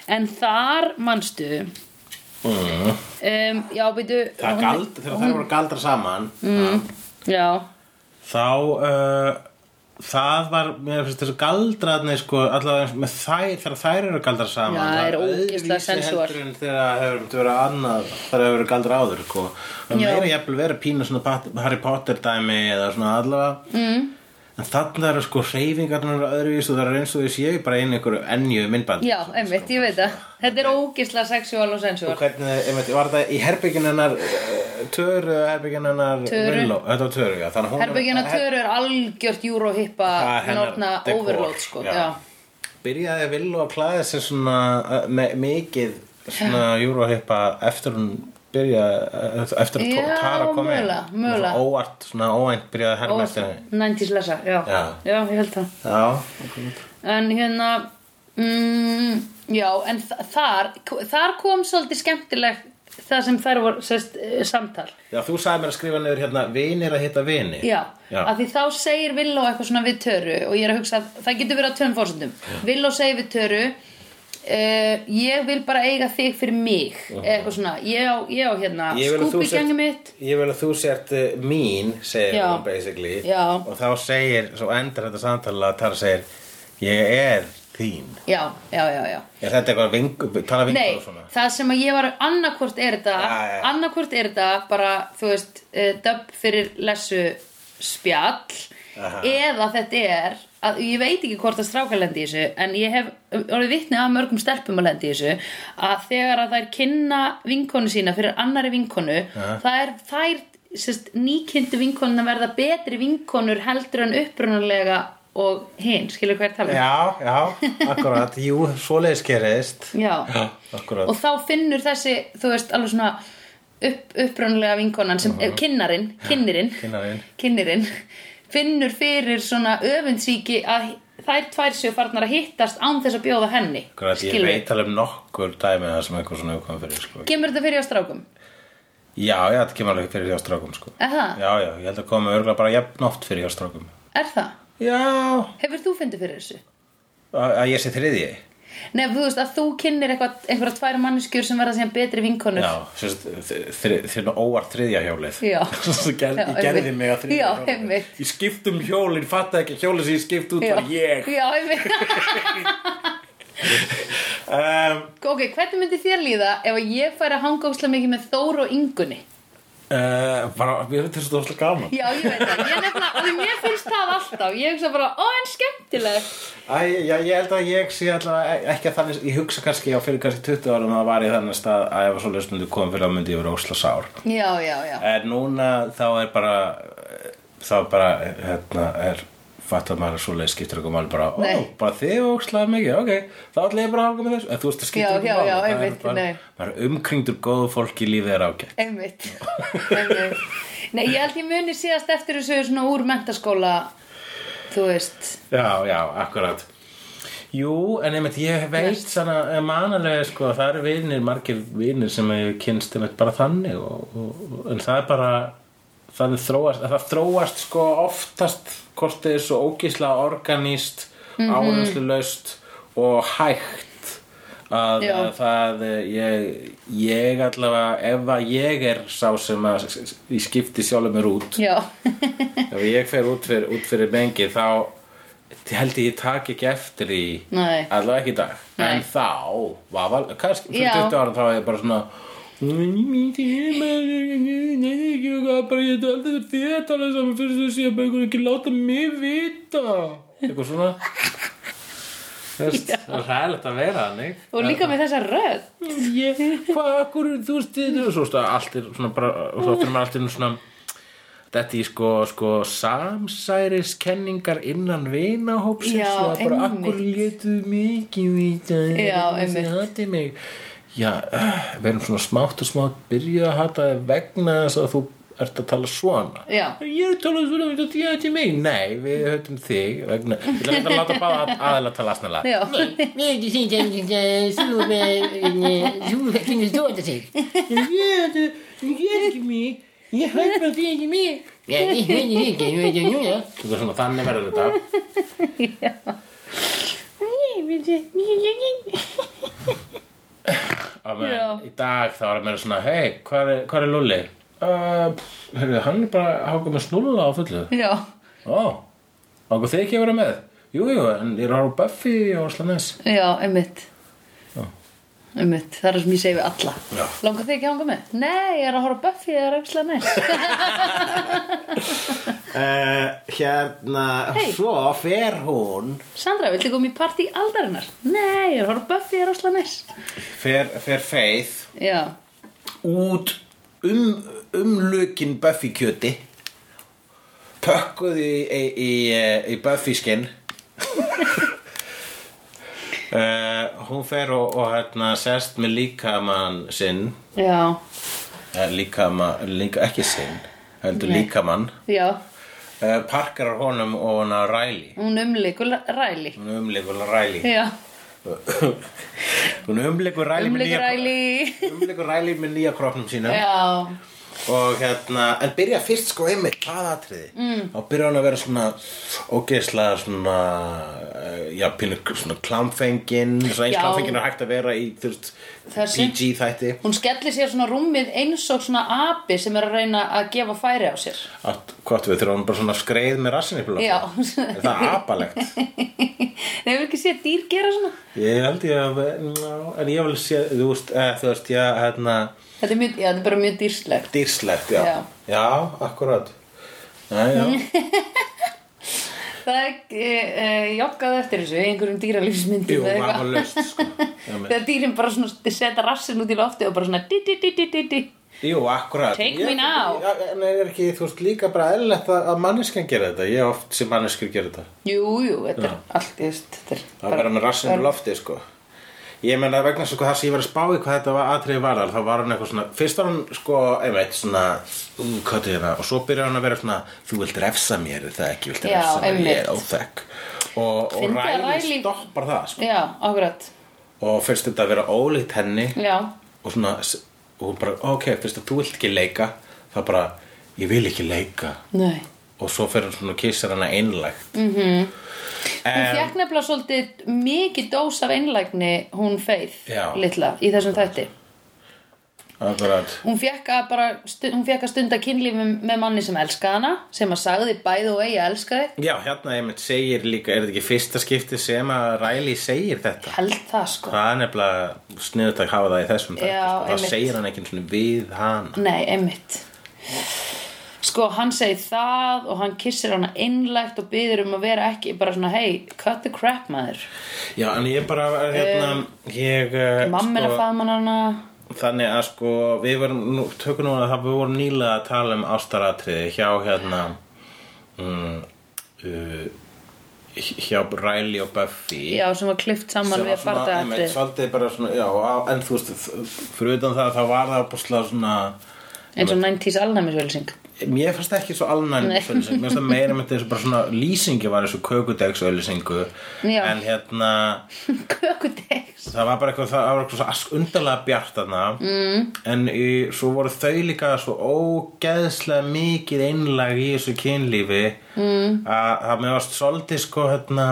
[SPEAKER 2] En þar manstu
[SPEAKER 1] mm.
[SPEAKER 2] um, Já, byrju
[SPEAKER 1] Það
[SPEAKER 2] hún-
[SPEAKER 1] gald, þegar þær voru galdra saman
[SPEAKER 2] Já,
[SPEAKER 1] þá uh, það var, mér finnst þessu galdraðni sko, allavega eins með þær þegar þær eru galdra saman
[SPEAKER 2] Já, það er ógeðslega
[SPEAKER 1] öðruvísi
[SPEAKER 2] sensual.
[SPEAKER 1] heldur en þegar það hefur verið annað þegar það hefur verið galdra áður sko. það
[SPEAKER 2] Já.
[SPEAKER 1] meira jafnvel verið pínu svona Pat- Harry Potter dæmi eða svona allavega mm. en þarna eru sko hreyfingarnar öðruvís og það eru eins og þess ég bara inn í einhverju ennju myndband
[SPEAKER 2] já, einmitt, ég veit það Þetta er ógisla sexual og
[SPEAKER 1] og
[SPEAKER 2] sensual
[SPEAKER 1] hvernig, einmitt, var þetta í herbyggin hennar eh, töru, herbyggin hennar
[SPEAKER 2] Töru.
[SPEAKER 1] Willow? þetta var töru, já þannig að hún-
[SPEAKER 2] Herbyggina Töru er algjört eurohippa
[SPEAKER 1] Það er hennar
[SPEAKER 2] norna
[SPEAKER 1] dekor,
[SPEAKER 2] overload sko
[SPEAKER 1] já.
[SPEAKER 2] Já,
[SPEAKER 1] byrjaði að vilja að klæða sér svona uh, me, mikið svona júróhippa eftir hún byrjaði uh, eftir að
[SPEAKER 2] Já,
[SPEAKER 1] to- Tara kom inn
[SPEAKER 2] mögulega, mögulega.
[SPEAKER 1] Svona óvart, svona óænt byrjaði að herma eftir henni
[SPEAKER 2] 90s lesa, já.
[SPEAKER 1] Já.
[SPEAKER 2] já, ég held það
[SPEAKER 1] já,
[SPEAKER 2] En hérna mm, Já, en þa- þar þar kom svolítið skemmtilegt það sem þær var sest, eh, samtal
[SPEAKER 1] já, þú sagði mér að skrifa niður hérna vinir að hitta vini
[SPEAKER 2] Já,
[SPEAKER 1] Já.
[SPEAKER 2] af því þá segir Villó eitthvað svona við Töru og ég er að hugsa að það getur verið á tveim fórsendum Villó segir við Töru uh, ég vil bara eiga þig fyrir mig eða eitthvað svona, ég á, ég á hérna
[SPEAKER 1] Ég vil að þú
[SPEAKER 2] skúpi
[SPEAKER 1] sért-
[SPEAKER 2] gengið mitt
[SPEAKER 1] Ég vil að þú sért uh, mín, segir
[SPEAKER 2] Já.
[SPEAKER 1] hún basically
[SPEAKER 2] Já.
[SPEAKER 1] og þá segir, svo endur þetta samtala að Tara segir, ég er þín
[SPEAKER 2] Já, já, já, já
[SPEAKER 1] Er þetta eitthvað vingu, tala vingu
[SPEAKER 2] Nei,
[SPEAKER 1] og svona?
[SPEAKER 2] það sem að ég var annarkvort er þetta
[SPEAKER 1] Já, já, já.
[SPEAKER 2] annarkvort er þetta bara, þú veist, uh, döpp fyrir lesu spjall
[SPEAKER 1] Aha.
[SPEAKER 2] eða þetta er að ég veit ekki hvort að strákar lendi í þessu en ég hef orðið vitni að mörgum stelpum að lendi í þessu að þegar að þær kynna vinkonu sína fyrir annari vinkonu þær, þær sérst, nýkynntu vinkonuna verða betri vinkonur heldur en upprunalega og hinn, skilur hvað ég er talað um?
[SPEAKER 1] Já, já, akkurat, jú, svoleiðis gerist
[SPEAKER 2] Já.
[SPEAKER 1] Já, akkurat
[SPEAKER 2] og þá finnur þessi þú veist alveg svona upp, upprunalega vinkonan sem uh kynnarin kynnirinn
[SPEAKER 1] Kynnarinn.
[SPEAKER 2] kynnirinn, finnur fyrir svona öfundsíki að þær tvær séu farnar að hittast án þess að bjóða henni
[SPEAKER 1] Akkurat, ég
[SPEAKER 2] Skilurðu?
[SPEAKER 1] veit alveg um nokkur dæmi það sem eitthvað svona auðvitað fyrir sko.
[SPEAKER 2] kemur þetta fyrir á strákum
[SPEAKER 1] Já, já, þetta kemur alveg fyrir hjá strákum sko.
[SPEAKER 2] Er það?
[SPEAKER 1] Já, já, ég held að koma örgulega bara jafn oft fyrir hjá strákum
[SPEAKER 2] er það?
[SPEAKER 1] Já
[SPEAKER 2] hefur þú fundið fyrir þessu?
[SPEAKER 1] Að að ég sé þriðji
[SPEAKER 2] Nei, þú veist að þú kynnir eitthvað, einhverja tvær manneskjur sem verða síðan betri vinkonur
[SPEAKER 1] Já, þérna óvart þriðja hjólið
[SPEAKER 2] Já.
[SPEAKER 1] *laughs* Svo ger,
[SPEAKER 2] Já,
[SPEAKER 1] Ég gerði
[SPEAKER 2] einmitt.
[SPEAKER 1] mig að þriðja
[SPEAKER 2] Já,
[SPEAKER 1] hjólið
[SPEAKER 2] einmitt.
[SPEAKER 1] Ég skipt um hjólið, fatta ekki að hjólið sem ég skipt út var ég
[SPEAKER 2] Já, einmitt
[SPEAKER 1] um,
[SPEAKER 2] *laughs* Ok, hvernig myndi þér líða ef að ég færi að hanga óslega mikið með Þór og Ingunni?
[SPEAKER 1] uh, bara, Mér finnst þetta óslega gaman
[SPEAKER 2] Já, ég veit það, ég nefnilega, af því mér finnst það alltaf Ég hugsa bara, ó, en skemmtilegt
[SPEAKER 1] Æ, já, ég held að ég sé alltaf e- ekki að þannig, ég hugsa kannski á fyrir kannski 20 árum að það var í þannig stað að ef að svo lesmundu kom fyrir að myndi ég vera ósla sár.
[SPEAKER 2] Já, já, já
[SPEAKER 1] En núna þá er bara, eh, þá bara, eh, hérna, er fatt að maður er svo leið skiptir eitthvað máli bara, ó,
[SPEAKER 2] Nei.
[SPEAKER 1] bara þið óslaði mikið, ok, þá ætla ég bara að hanga með þessu, en þú veist að skiptir
[SPEAKER 2] Já, já, já,
[SPEAKER 1] Það er
[SPEAKER 2] einmitt,
[SPEAKER 1] bara-
[SPEAKER 2] nei.
[SPEAKER 1] Maður er umkringdur góðu fólki í lífið er ágætt.
[SPEAKER 2] Einmitt. Einmitt. Nei, ég held ég muni síðast eftir þessu svona úr mentaskóla, þú veist.
[SPEAKER 1] Já, já, akkurat Jú, en einmitt ég veit svona manalega sko, það eru vinir, margir vinir sem hefur kynst einmitt bara þannig og, og, og- en það er bara það er þróast, það þróast sko oftast hvort þið er svo ógísla organíst, mm og hægt að
[SPEAKER 2] Já.
[SPEAKER 1] það eh, ég, ég allavega ef að ég er sá sem að ég skipti sjálfur mér út
[SPEAKER 2] Já,
[SPEAKER 1] ef ég fer út fyrir, út fyrir mengi þá held ég ég tak ekki eftir í
[SPEAKER 2] Nei.
[SPEAKER 1] allavega ekki í dag
[SPEAKER 2] Nei.
[SPEAKER 1] en þá, vafa, kannski fyrir
[SPEAKER 2] Já.
[SPEAKER 1] 20 ára þá er ég bara svona bara ég hef aldrei þér talað saman fyrir þessu ég bara einhvern ekki láta mig vita eitthvað svona Þú veist, það er hægilegt að vera þannig
[SPEAKER 2] og líka með þessa rödd.
[SPEAKER 1] ég, hvað, akkur, þú veist þið og svo veist að allt er svona bara og þá fyrir maður allt er svona þetta í sko, sko samsæriskenningar innan vinahópsins
[SPEAKER 2] Já,
[SPEAKER 1] og það er bara
[SPEAKER 2] einmitt.
[SPEAKER 1] akkur létuð mikið í það
[SPEAKER 2] Já,
[SPEAKER 1] þessi
[SPEAKER 2] einmitt.
[SPEAKER 1] hati mig já, uh, við erum svona smátt og smátt byrjuð að hata þig vegna þess að þú ert að tala svona
[SPEAKER 2] Já.
[SPEAKER 1] ég er að tala svona vegna því að þetta er mig nei, við höfum þig vegna við ætlum ekki að láta báða aðeila tala snarlega
[SPEAKER 2] Já,
[SPEAKER 3] Nei, þú sýnt að þú finnir stóða sig.
[SPEAKER 1] Ég er ekki mig Ég hætti að því ekki mig
[SPEAKER 3] Ég finnir ekki, ég veit ekki núna.
[SPEAKER 1] Þetta er svona þannig verður þetta Á meðan
[SPEAKER 2] Já.
[SPEAKER 1] Í dag þá er meira svona Hei, hvað er, hvar er Lulli? Uh, Hörru, hann er bara háka með snúla á fullu
[SPEAKER 2] Já,
[SPEAKER 1] Ó, ákvað þið ekki að vera með Jú, jú, en ég er á Buffy og Slanes
[SPEAKER 2] já, einmitt.
[SPEAKER 1] Já.
[SPEAKER 2] Einmitt, það er það sem ég segi við alla.
[SPEAKER 1] Já.
[SPEAKER 2] Langar þig ekki að hanga með? Nei, ég er að horfa á Buffy, það er aukslega næst.
[SPEAKER 1] uh, Hérna,
[SPEAKER 2] Hey.
[SPEAKER 1] svo fer hún
[SPEAKER 2] Sandra, viltu koma í partí aldarinnar? Nei, ég er að horfa á Buffy, það er aukslega næst.
[SPEAKER 1] Fer, fer Faith
[SPEAKER 2] Já,
[SPEAKER 1] út um, umlukin Buffy kjöti pökkuð í, í, í, eh, í Buffy *laughs* skinn uh, hún fer og, og hérna sest með líkamann sinn
[SPEAKER 2] já,
[SPEAKER 1] eh, líkama, líka, ekki sinn heldur
[SPEAKER 2] Nei.
[SPEAKER 1] líkamann
[SPEAKER 2] já.
[SPEAKER 1] uh, parkar honum og hana ræli
[SPEAKER 2] Hún umlikur ræli.
[SPEAKER 1] hún umleikur ræli
[SPEAKER 2] Já,
[SPEAKER 1] *laughs* hún umleikur ræli með
[SPEAKER 2] umlikur
[SPEAKER 1] nýja-
[SPEAKER 2] ræli.
[SPEAKER 1] umleikur ræli með nýja kroppnum sína
[SPEAKER 2] Já,
[SPEAKER 1] og hérna, en byrja fyrst sko einmitt það atriði, mm. þá byrja hann að vera svona ógeðslega svona eh, já, pínu svona klámfengin, svona eins
[SPEAKER 2] Já.
[SPEAKER 1] klámfengin er hægt að vera í, þú veist,
[SPEAKER 2] Þessi.
[SPEAKER 1] PG þætti
[SPEAKER 2] hún skellir sér svona rúmið eins og svona api sem er að reyna að gefa færi á sér *laughs*
[SPEAKER 1] Allt, hvað þú veit, þegar hann bara svona skreið með rassinni
[SPEAKER 2] Já.
[SPEAKER 1] er það apalegt
[SPEAKER 2] Nei, við ekki sé að dýr gera svona
[SPEAKER 1] ég held ég að ná, en ég vil sé, þú veist, eh, þú veist, já, hérna
[SPEAKER 2] Þetta er, mjög, já, þetta er bara mjög dýrslegt
[SPEAKER 1] dýrslegt, já,
[SPEAKER 2] Já.
[SPEAKER 1] já akkurat já, já,
[SPEAKER 2] Það er e, e, joggað eftir þessu í einhverjum
[SPEAKER 1] jú,
[SPEAKER 2] dýralífsmyndum eða eitthvað.
[SPEAKER 1] vafalaust sko, já,
[SPEAKER 2] Þegar dýrin bara svona setja rassin út í lofti og bara svona di, di, di, di, di, di.
[SPEAKER 1] Jú, akkurat
[SPEAKER 2] Take
[SPEAKER 1] Ég-
[SPEAKER 2] me now.
[SPEAKER 1] Já, En er ekki, þú veist, líka bara eðlilegt að að manneskjan gera þetta Ég oft sem manneskjur gera þetta
[SPEAKER 2] Jú, jú, þetta er allt þú veist, Þetta er
[SPEAKER 1] Það vera með rassinu í lofti, sko Ég meina vegna svo það sem ég var að spá í hvað þetta var atriði varar, þá var hann eitthvað svona, fyrst var hann sko, einmitt, svona, ú, hvað er það, og svo byrjaði hann að vera svona, þú vilt refsa mér, er það ekki, vilt
[SPEAKER 2] Já,
[SPEAKER 1] refsa mér, ég er
[SPEAKER 2] einmitt.
[SPEAKER 1] óþekk. Og, og
[SPEAKER 2] Fyndi að
[SPEAKER 1] ræli
[SPEAKER 2] Riley-
[SPEAKER 1] stoppar það, sko.
[SPEAKER 2] Já, akkurat
[SPEAKER 1] Og fyrst þetta að vera ólíkt henni,
[SPEAKER 2] Já,
[SPEAKER 1] og svona og hún bara, ok, fyrst að þú vilt ekki leika þá bara, ég vil ekki leika
[SPEAKER 2] nei
[SPEAKER 1] og svo fer hann svona og kissar hana einlægt mm
[SPEAKER 2] Mhm.
[SPEAKER 1] -hmm.
[SPEAKER 2] Hún fekk nefnilega svolítið mikið dós af einlægni hún feið
[SPEAKER 1] Já.
[SPEAKER 2] litla í þessum þætti.
[SPEAKER 1] Akkurat
[SPEAKER 2] Hún fekk að, bara, stu- hún fekk að stunda kynlífi með manni sem elskaði hana, sem að sagði bæði og eigi að elska þig.
[SPEAKER 1] Já, hérna einmitt segir líka, er þetta ekki fyrsta skipti sem að Riley segir þetta?
[SPEAKER 2] Held það sko.
[SPEAKER 1] Það er nefnilega sniðut að hafa það í þessum þætti,
[SPEAKER 2] Já,
[SPEAKER 1] sko. Það
[SPEAKER 2] einmitt.
[SPEAKER 1] segir hann ekki einu sinni við hana
[SPEAKER 2] Nei, einmitt. Sko, hann segir það og hann kissir hana einlægt og byður um að vera ekki bara svona, hey, cut the crap maður.
[SPEAKER 1] Já, en ég bara, hérna, ég eh,
[SPEAKER 2] Um, Mamma er að faðma hana.
[SPEAKER 1] Þannig að sko, við vorum, nú, tökum núna það við vorum nýlega að tala um ástaratriði hjá hérna um, uh, hjá Riley og Buffy
[SPEAKER 2] Já, sem var klift saman
[SPEAKER 1] sem
[SPEAKER 2] við
[SPEAKER 1] var
[SPEAKER 2] að
[SPEAKER 1] svona,
[SPEAKER 2] barða
[SPEAKER 1] einmitt,
[SPEAKER 2] eftir.
[SPEAKER 1] svolítið bara svona, já, á- en þú veist, fyrir utan það þá var það búslega svona
[SPEAKER 2] Eins og 90s *laughs* alnæmisvölsing.
[SPEAKER 1] Mér fannst ekki svo alnæn
[SPEAKER 2] Nei.
[SPEAKER 1] öllising, mér fannst það meira með þessu bara svona lýsingi var þessu kökudegs öllisingu
[SPEAKER 2] Já.
[SPEAKER 1] en hérna,
[SPEAKER 2] Kökudegs.
[SPEAKER 1] það var bara eitthvað, það var eitthvað svo ask undarlega bjart þarna mm. en í, svo voru þau líka svo ógeðslega mikið einlag í þessu kynlífi mm. að það mér varst svolítið sko hérna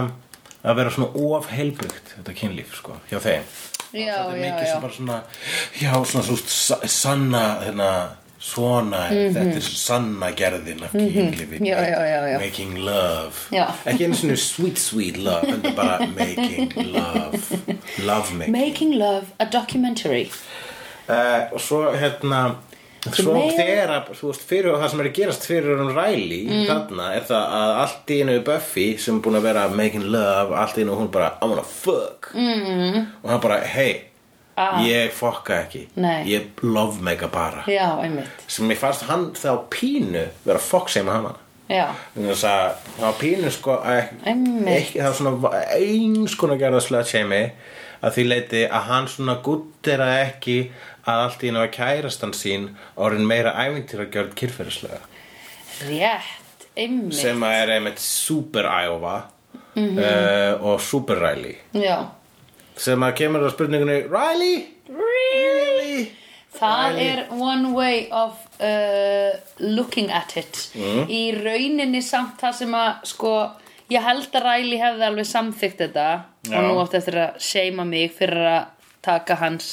[SPEAKER 1] að vera svona ofheilbyggt þetta kynlíf sko, hjá þeim
[SPEAKER 2] Já,
[SPEAKER 1] þetta er
[SPEAKER 2] já,
[SPEAKER 1] mikið
[SPEAKER 2] já.
[SPEAKER 1] sem bara svona já, svona svo sa- sanna hérna, svona, þetta er sanna gerðin af kynlífi
[SPEAKER 2] Mhm. Já, já, já, já.
[SPEAKER 1] making love
[SPEAKER 2] Já.
[SPEAKER 1] ekki einu svona sweet, sweet love heldur bara making love love making
[SPEAKER 2] Making Love, a documentary.
[SPEAKER 1] Eh, og svo hérna svo
[SPEAKER 2] meira-
[SPEAKER 1] þegar að, þú veist, fyrir það sem er að gerast fyrir um Riley
[SPEAKER 2] Mm.
[SPEAKER 1] þarna er það að allt í einu Buffy sem er búin að vera making love allt í einu hún bara, I wanna fuck mm. og hann bara, hey
[SPEAKER 2] Mm-hmm. Ah.
[SPEAKER 1] ég fokka ekki
[SPEAKER 2] Nei.
[SPEAKER 1] ég love mega bara
[SPEAKER 2] Já, einmitt.
[SPEAKER 1] sem ég fannst hann þá pínu vera fokk sem hann
[SPEAKER 2] Já,
[SPEAKER 1] þannig að það var pínu sko ek,
[SPEAKER 2] Einmitt.
[SPEAKER 1] ekki, það var svona eins konar gerða slötsheimi að því leiti að hann svona gutteraði ekki að allt í einu að kærastan sín orðin meira ævintir að gjörð kyrfyrislega
[SPEAKER 2] rétt, einmitt.
[SPEAKER 1] sem að er einmitt super Iowa uh, og super Riley
[SPEAKER 2] Já.
[SPEAKER 1] sem að kemur að spurningunni Riley? Really?
[SPEAKER 2] Það er one way of uh, looking at it
[SPEAKER 1] Mm.
[SPEAKER 2] Í rauninni samt það sem að sko, ég held að Riley hefði alveg samþykkt þetta
[SPEAKER 1] Já.
[SPEAKER 2] og nú átti eftir að seima mig fyrir að taka hans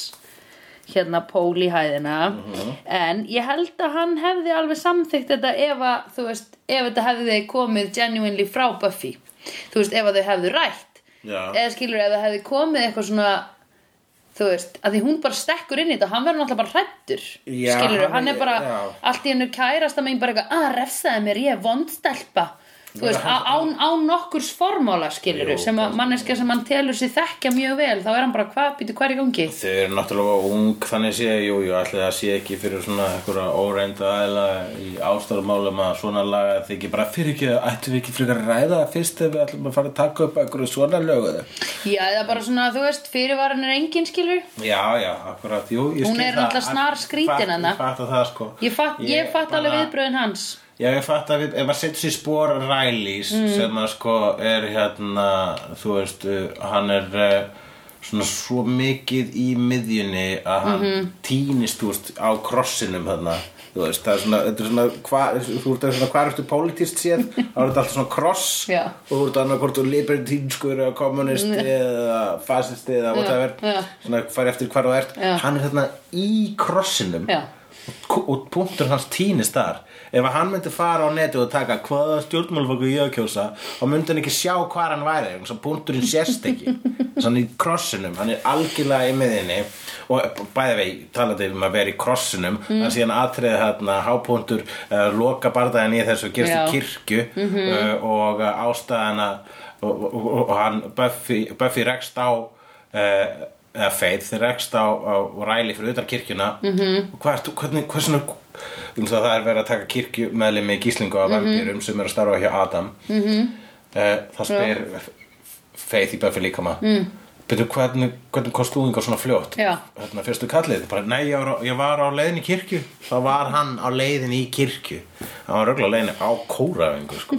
[SPEAKER 2] hérna pól í hæðina
[SPEAKER 1] Mhm.
[SPEAKER 2] en ég held að hann hefði alveg samþykkt þetta ef að þú veist, ef þetta hefði komið genuinely frá Buffy þú veist, ef að þau hefðu rætt
[SPEAKER 1] Já.
[SPEAKER 2] eða skilur ef það hefði komið eitthvað svona þú veist, að því hún bara stekkur inn í þetta og hann verður náttúrulega bara hrættur
[SPEAKER 1] Já,
[SPEAKER 2] skilur,
[SPEAKER 1] hann-
[SPEAKER 2] hann, er bara
[SPEAKER 1] já.
[SPEAKER 2] allt í hennu kærasta megin bara eitthvað að refsaði mér, ég er vondstelpa þú
[SPEAKER 1] Já,
[SPEAKER 2] veist,
[SPEAKER 1] *laughs* hann-
[SPEAKER 2] á, á nokkurs formála skilur,
[SPEAKER 1] Jú,
[SPEAKER 2] sem að manneskja sem hann telur sér þekkja mjög vel, þá er hann bara hvað, býtu hvað er í gangi
[SPEAKER 1] Þau eru náttúrulega ung, þannig sé, jú, jú, ætli það sé ekki fyrir svona einhverja óreinda aðila í ástæðumálum að svona laga þykir bara fyrir ekki, ættum við ekki frekar að ræða það fyrst ef við ætlum að fara að taka upp einhverju svona löguðu.
[SPEAKER 2] já, eða bara svona, þú veist, fyrirvaran er engin skilur,
[SPEAKER 1] Já, já, akkurat, jú, ég skil það.
[SPEAKER 2] Hún er náttúrulega snarskrítin
[SPEAKER 1] Fatt-
[SPEAKER 2] hana.
[SPEAKER 1] Ég fatt að það, sko.
[SPEAKER 2] ég fatt, ég fatt
[SPEAKER 1] bara-
[SPEAKER 2] alveg viðbröðin hans
[SPEAKER 1] Já, ég fatt að við, ef maður setur sér spór Rælís
[SPEAKER 2] Mm.
[SPEAKER 1] sem að sko er hérna, þú veist, uh, hann er uh, svona svo mikið í miðjunni að hann
[SPEAKER 2] Mhm.
[SPEAKER 1] týnist, þú veist, á krossinum þarna. Þú veist, það er svona, þetta er svona, hva, þú veist, það er svona, hvað ertu pólitíst séð,
[SPEAKER 2] *laughs*
[SPEAKER 1] þá er þetta alltaf svona kross
[SPEAKER 2] Já.
[SPEAKER 1] og þú veist annað hvort þú libertínskur eða kommunist eða fasisti eða whatever,
[SPEAKER 2] já.
[SPEAKER 1] svona fari eftir hvar þú ert,
[SPEAKER 2] Já.
[SPEAKER 1] hann er þarna í krossinum
[SPEAKER 2] Já.
[SPEAKER 1] og og punktur hans týnist þar ef að hann myndi fara á netu og taka hvaða stjórnmálfokku ég á að kjósa þá myndi hann ekki sjá hvar hann væri þannig að punkturinn sérst ekki þannig að hann er í krossinum, hann er algjörlega í miðinni og bæði vei talandi um að vera í krossinum mm. að síðan atriði þarna hápunktur uh, loka barðaðin í þessu gerstu
[SPEAKER 2] Já.
[SPEAKER 1] kirkju uh, og uh, ástæðana og, og, og, og hann Buffy, Buffy rekst á uh, eða feið, þeir rekst á, á ræli fyrir utan kirkjuna mm -hmm. og hvað ertu, hvernig, hversna um það, það er verið að taka kirkju meðlum í gíslingu af vampýrum sem er að starfa hjá Adam mm -hmm. það spyr feið í Buffy líkama mm. Byrju, hvernig, hvernig komst þú yngar svona fljótt?
[SPEAKER 2] Já.
[SPEAKER 1] Hérna, fyrstu kallið, bara, nei, ég var, á- ég var á leiðin í kirkju. Þá var hann á leiðin í kirkju. Hann var röglega leiðin á kórafingu, sko.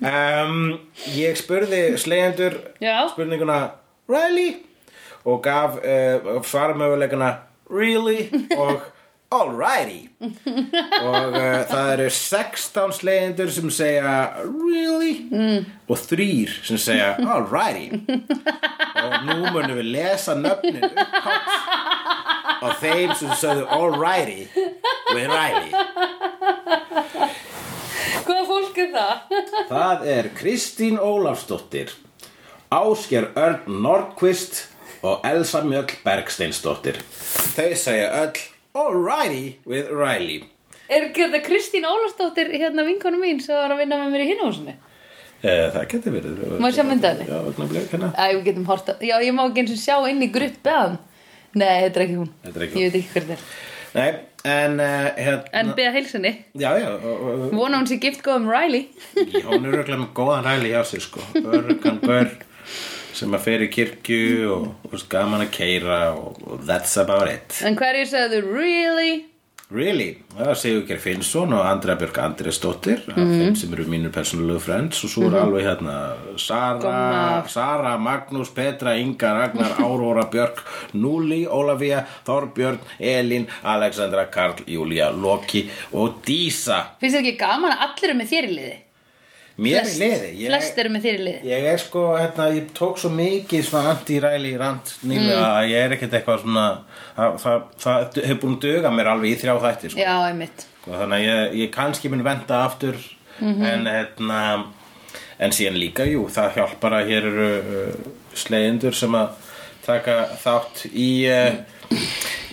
[SPEAKER 1] um, ég spurði slegjendur
[SPEAKER 2] Já.
[SPEAKER 1] spurninguna, eh, really? Og gaf uh, svara möguleikana, really? Og, alrighty og uh, það eru 16 slegjendur sem segja really mm. og þrýr sem segja alrighty og nú munum við lesa nöfnin upphátt á þeim sem sögðu alrighty with Riley
[SPEAKER 2] Hvaða fólk er það? *laughs*
[SPEAKER 1] það er Kristín Ólafsdóttir Ásker Örn Nordqvist og Elsa Mjöll Bergsteinsdóttir þau segja öll alrighty with Riley
[SPEAKER 2] Er ekki þetta Kristín Ólafsdóttir hérna vinkonu mín sem var að vinna með mér í hinhúsinu?
[SPEAKER 1] Eh, Það getur verið
[SPEAKER 2] Má ég sjá mynd af henni?
[SPEAKER 1] Já, augnablik hérna
[SPEAKER 2] Æ, við getum hort að, já, ég má ekki eins og sjá inn í grupp eðan. Nei, þetta er ekki hún.
[SPEAKER 1] Þetta er ekki hún.
[SPEAKER 2] Ég veit ekki hver þetta er.
[SPEAKER 1] Nei, en uh, hérna
[SPEAKER 2] En beða heilsinni.
[SPEAKER 1] Já, já, og- og-
[SPEAKER 2] Vona hún sé gift góðum Riley.
[SPEAKER 1] já, hún er örgulega með góðan ræli hjá sér sko Örgan gaur sem að fer í kirkju og, og veist, gaman að keira og, og that's about it
[SPEAKER 2] En hverju sagðu really?
[SPEAKER 1] Really, það er Sigurgeir Finnsson og Andra Björk Andresdóttir mm þeim sem eru mínir persónulegu friends og svo eru alveg hérna Sara,
[SPEAKER 2] Gómar.
[SPEAKER 1] Sara, Magnús, Petra, Inga, Ragnar, Áróra, Björk, Núli, Ólafía, Þorbjörn, Elín, Alexandra, Karl, Júlía, Loki og Dísa.
[SPEAKER 2] Finnst þér ekki gaman að allir eru með þér í liði?
[SPEAKER 1] Mér er liði. Ég-
[SPEAKER 2] Flest eru með þér í liði.
[SPEAKER 1] Ég er sko, hérna, ég tók svo mikið svona anti-ræli rand nýlega að ég er ekkert eitthvað svona, það, það, það, hefur búin að duga mér alveg í þrjá þætti sko.
[SPEAKER 2] Já, einmitt.
[SPEAKER 1] og þannig að ég, ég kannski mun venda aftur en hérna en síðan líka, jú, það hjálpar að hér eru uh, slegjendur sem að taka þátt í uh,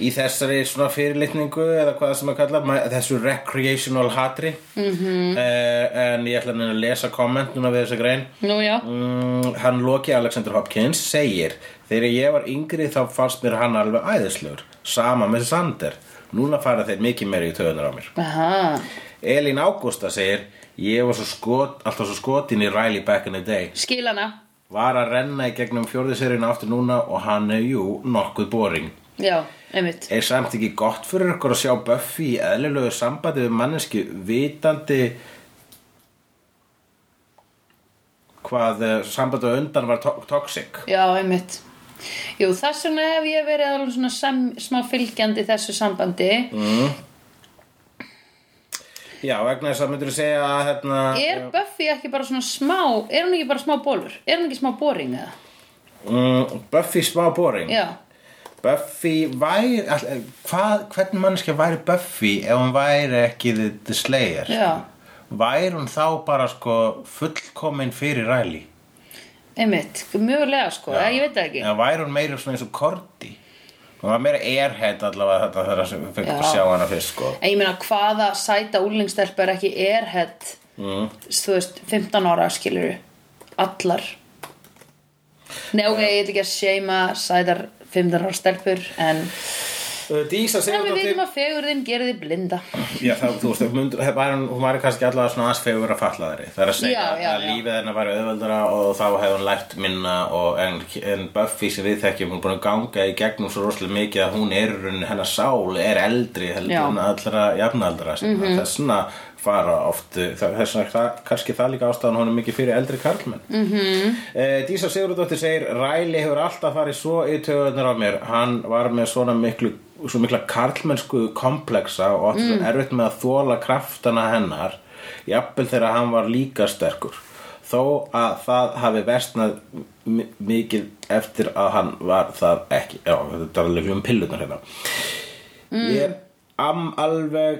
[SPEAKER 1] í þessari svona fyrirlitningu eða hvað sem að kalla ma- þessu recreational hatri -hmm. en ég ætla að lesa komment núna við þessa grein
[SPEAKER 2] Nú já.
[SPEAKER 1] Mm, hann Loki Alexander Hopkins segir Þegar ég var yngri þá fannst mér hann alveg æðislegur Sama með Sander Núna fara þeir mikið meira í töðunar á mér
[SPEAKER 2] Aha.
[SPEAKER 1] Elín Ágústa segir Ég var svo skot, alltaf svo skotin í Riley back in the day
[SPEAKER 2] Skil hana.
[SPEAKER 1] Var að renna í gegnum fjórðiserina aftur núna Og hann er jú nokkuð boring
[SPEAKER 2] Já, einmitt.
[SPEAKER 1] Er samt ekki gott fyrir okkur að sjá Buffy í eðlilegu sambandi við manneski vitandi hvað eh, sambandi á undan var to toxic
[SPEAKER 2] Já, einmitt. Jú, þess vegna hef ég verið alveg svona sem, smá fylgjandi þessu sambandi.
[SPEAKER 1] Mm. Já, vegna þess að myndir segja að hérna,
[SPEAKER 2] Er Buffy ekki bara svona smá, er hún ekki bara smá bólur? Er hún ekki smá boring eða?
[SPEAKER 1] mm, Buffy smá boring
[SPEAKER 2] Já,
[SPEAKER 1] Buffy væri all, eh, hvað, hvernig mannskja væri Buffy ef hún væri ekki The, the Slayer
[SPEAKER 2] Já.
[SPEAKER 1] væri hún þá bara sko fullkomin fyrir ræli
[SPEAKER 2] einmitt, mögulega sko, eða, ég veit það ekki.
[SPEAKER 1] eða væri hún meira svona eins og Korti hún var meira airhead allavega þetta þegar sem við fengum
[SPEAKER 2] Já.
[SPEAKER 1] að sjá hana fyrst sko
[SPEAKER 2] En ég meina hvaða sæta úlingstelpa er ekki erhett, mm. þú veist, 15 ára skilur allar. Nei, ok, ég ætla ekki að seima sætar 15 ára stelpur, en
[SPEAKER 1] Uh, Dísa
[SPEAKER 2] en við
[SPEAKER 1] Sigurdóttir
[SPEAKER 2] vitum að fegurðin gerir þið blinda.
[SPEAKER 1] Já, það, þú veist, hún myndi- var, hún- hún var kannski allavega svona aðs fegur að falla þeirri Það er að segja
[SPEAKER 2] Já, já,
[SPEAKER 1] að
[SPEAKER 2] já.
[SPEAKER 1] lífið hennar var auðveldara og þá hefði hún lært minna og, en, en Buffy sem við þekkjum hún er búin að ganga í gegnum svo rosalega mikið að hún er, í rauninni- hennar sál er eldri
[SPEAKER 2] Já.
[SPEAKER 1] heldur hún allra jafnaldra mm -hmm. þessna fara oft það- þessna það- kannski það líka ástæðan hún er mikið fyrir eldri karlmenn mm -hmm. Dísa Sigurðardóttir segir Ræli hefur alltaf farið svo í töðunar á mér hann var með svona miklu svo mikla karlmennsku kompleksa og átti svo erfitt með að þóla kraftana hennar jafnvel þegar hann var líka sterkur þó að það hafi versnað mi- mikið eftir að hann var það ekki já, þetta er alveg um pillunar hérna Ég er am alveg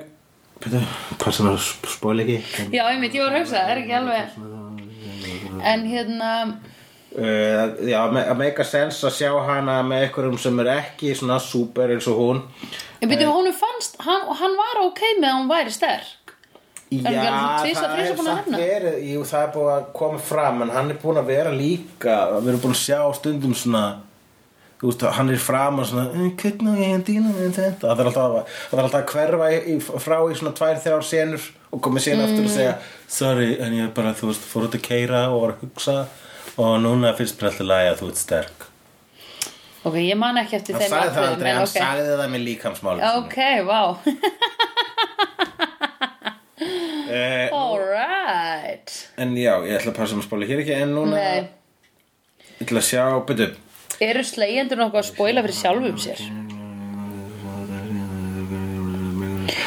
[SPEAKER 1] Pítur, Passa mig að sp- spóla ekki uh,
[SPEAKER 2] Já, einmitt, ég var að hugsa, það er ekki alveg. En hérna,
[SPEAKER 1] Eh, Já, me- að make a sense að sjá hana með einhverjum sem er ekki svona super eins og hún
[SPEAKER 2] ég byrjum, honum fannst, hann, hann var ok með að hún væri sterk.
[SPEAKER 1] Já,
[SPEAKER 2] ekki alveg svona tvisvar,
[SPEAKER 1] það
[SPEAKER 2] þrisvar
[SPEAKER 1] er
[SPEAKER 2] búin að
[SPEAKER 1] samt
[SPEAKER 2] nefna?
[SPEAKER 1] verið Jú, það er búin að koma fram en hann er búin að vera líka við erum búin að sjá stundum svona þú veist, hann er fram og svona "Eh, hvernig á ég að dýna með þetta það er alltaf, að- það er alltaf að hverfa í, í, frá í svona tvær, þrjár senur og komið sen aftur
[SPEAKER 2] Mm.
[SPEAKER 1] og segja sorry, en ég bara, þú veist, fór út að keira og var að hugsa og núna finnst mér alltaf lægi að þú ert sterk
[SPEAKER 2] Ok, ég man ekki eftir
[SPEAKER 1] hann
[SPEAKER 2] þeim
[SPEAKER 1] sagði það
[SPEAKER 2] atriðum,
[SPEAKER 1] aldrei,
[SPEAKER 2] en
[SPEAKER 1] hann
[SPEAKER 2] ok.
[SPEAKER 1] sagði það með líkamsmálum
[SPEAKER 2] Ok, vá
[SPEAKER 1] eh,
[SPEAKER 2] Alright
[SPEAKER 1] en já, ég ætla að passa um að spóla hér ekki en núna,
[SPEAKER 2] Nei,
[SPEAKER 1] ég ætla að sjá, byrju
[SPEAKER 2] eru slegjendur nokkuð að spóila fyrir sjálfum sér?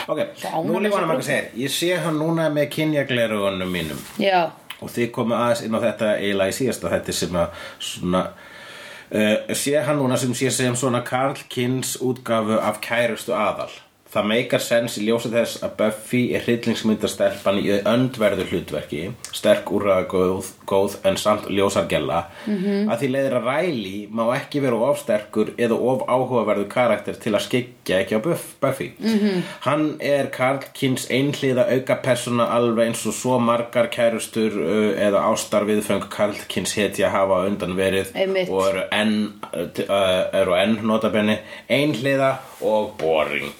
[SPEAKER 1] Ok,
[SPEAKER 2] ánægð
[SPEAKER 1] nú lífanum
[SPEAKER 2] með
[SPEAKER 1] að segja Ég sé hann núna með kynjaglerugunum mínum
[SPEAKER 2] Já,
[SPEAKER 1] og þið komið aðeins inn á þetta eiginlega í síðasta þetta sem að svona uh, sé hann núna sem sé sem svona Karl Kins útgafu af kærustu aðal það meikar sens í ljósa þess að Buffy er hryllingsmyndastelpan í öndverðu hlutverki sterk úrraðgóð góð, en samt ljósargella -hmm. að því leiðir að Riley má ekki vera of sterkur eða of áhugaverðu karakter til að skikja ekki á Buff- Buffy -hmm. hann er Karl Kins einhliða auka persóna alveg eins og svo margar kærustur uh, eða ástar viðfeng Karl Kins hetja hafa á undan verið
[SPEAKER 2] Einmitt.
[SPEAKER 1] og eru enn, uh, t- uh, eru enn notabenni einhliða og boring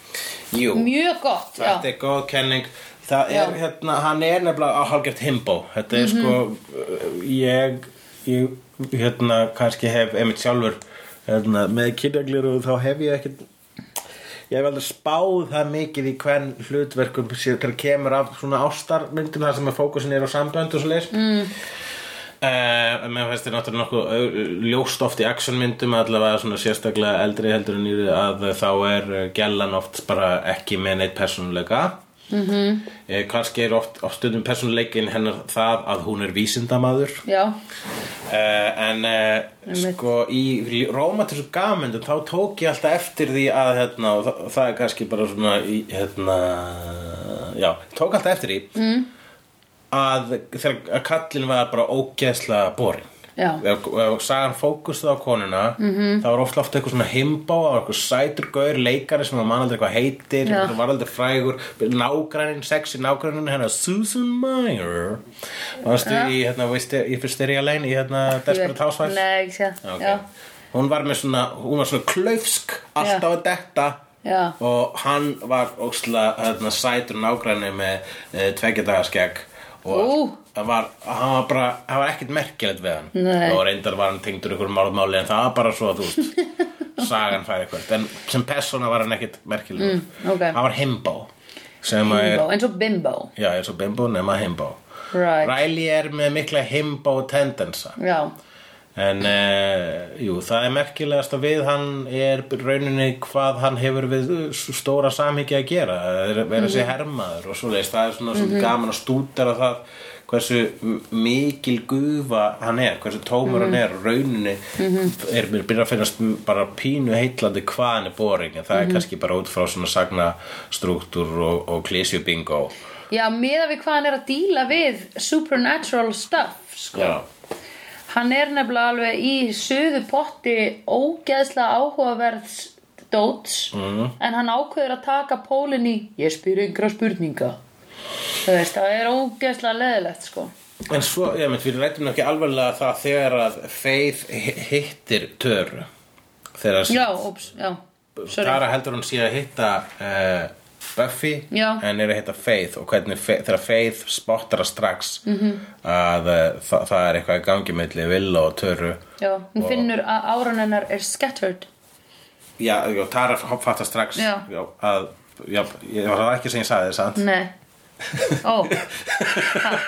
[SPEAKER 1] Jú,
[SPEAKER 2] mjög gott já.
[SPEAKER 1] þetta er góð kenning það er,
[SPEAKER 2] Já.
[SPEAKER 1] hérna, hann er nefnilega á hálfgjört himbo þetta er sko uh, ég, ég hérna, kannski hef einmitt sjálfur hérna, með kynjaglir og þá hef ég ekkert ég hef aldrei spáð það mikið í hvern hlutverkum sér þegar kemur af svona ástarmyndina þar sem að fókusin er á sambönd og svo leis mm. Uh, mér finnst þér náttúrulega nokkuð au- ljóst oft í actionmyndum allavega svona sérstaklega eldri heldur en nýri að þá er uh, gellan oft bara ekki með neitt persónuleika mm -hmm. kannski er oft, oft stundum persónuleikin hennar það að hún er vísindamaður
[SPEAKER 2] já,
[SPEAKER 1] uh, en uh,
[SPEAKER 2] Einmitt.
[SPEAKER 1] sko í rómatísku gammyndum þá tók ég alltaf eftir því að hérna, og það, það er kannski bara svona í, hérna, já, tók alltaf eftir því mm. að þegar að kallin var bara ógeðslega boring
[SPEAKER 2] Já.
[SPEAKER 1] ef, ef sagan fókustuð á konuna -hmm. það var ofta ofta eitthvað svona himbá það var eitthvað sætur gaur, leikari sem að mann aldrei hvað heitir
[SPEAKER 2] Já.
[SPEAKER 1] það var aldrei frægur nágrænin, sexi nágrænin hennar Susan Meyer varstu í, hérna, veistu, í Fysteria Lane í hérna Desperate Housewives
[SPEAKER 2] Nei, ekki sé
[SPEAKER 1] Já, ok.
[SPEAKER 2] Já,
[SPEAKER 1] hún var með svona, hún var svona klaufsk alltaf að detta
[SPEAKER 2] Já.
[SPEAKER 1] og hann var óksla hérna, sætur nágræni með e, tveggjadagaskegg og
[SPEAKER 2] Ú.
[SPEAKER 1] það var, hann var bara, það var ekkert merkilegt við hann
[SPEAKER 2] Nei.
[SPEAKER 1] og reyndar var hann tengdur ykkur málmáli en það var bara svo að þú
[SPEAKER 2] *laughs*
[SPEAKER 1] veist sagan fæði eitthvað, en sem persóna var hann ekkert merkilegur,
[SPEAKER 2] Mm, ok.
[SPEAKER 1] hann var himbo sem að er,
[SPEAKER 2] bimbo, eins og bimbo
[SPEAKER 1] já, eins og bimbo nema himbo
[SPEAKER 2] Right.
[SPEAKER 1] Riley er með mikla himbo tendensa
[SPEAKER 2] Já,
[SPEAKER 1] En uh, jú, það er merkilegast að við hann er rauninni hvað hann hefur við s- stóra samhengi að gera Það er að vera sér hermaður og svoleiðis það er svona svolítið gaman að stútera það hversu m- mikil gufa hann er, hversu tómur hann er rauninni er mér byrja að finnast m- bara pínu heitlandi hvað hann er boring en það er kannski bara út frá svona sagnastruktúr og, og klísju bingo
[SPEAKER 2] já meða við hvað hann er að díla við supernatural stuff sko.
[SPEAKER 1] Já,
[SPEAKER 2] Hann er nefnilega alveg í söðu potti ógeðslega áhugaverðs dóts
[SPEAKER 1] Mhm.
[SPEAKER 2] en hann ákveður að taka pólinn í ég spyr yngra spurninga þú veist, það er ógeðslega leðilegt sko.
[SPEAKER 1] En svo, ég mynd, við rættum ekki alvarlega það þegar að Faith hi- hittir Töru þegar
[SPEAKER 2] Já, óps, já sorry.
[SPEAKER 1] Tara heldur hún sé að hitta uh, Buffy
[SPEAKER 2] Já.
[SPEAKER 1] en er að hitta Faith og hvernig Faith, þegar Faith spottar að strax
[SPEAKER 2] Mhm.
[SPEAKER 1] -hmm. að uh, það, það er eitthvað í gangi melli Villa og Töru
[SPEAKER 2] Já, hún finnur að áran hennar er scattered
[SPEAKER 1] Já, já Tara fattar strax
[SPEAKER 2] Já. Mm.
[SPEAKER 1] að Já, ég var það ekki sem ég sagði þess að
[SPEAKER 2] Nei Ó ha.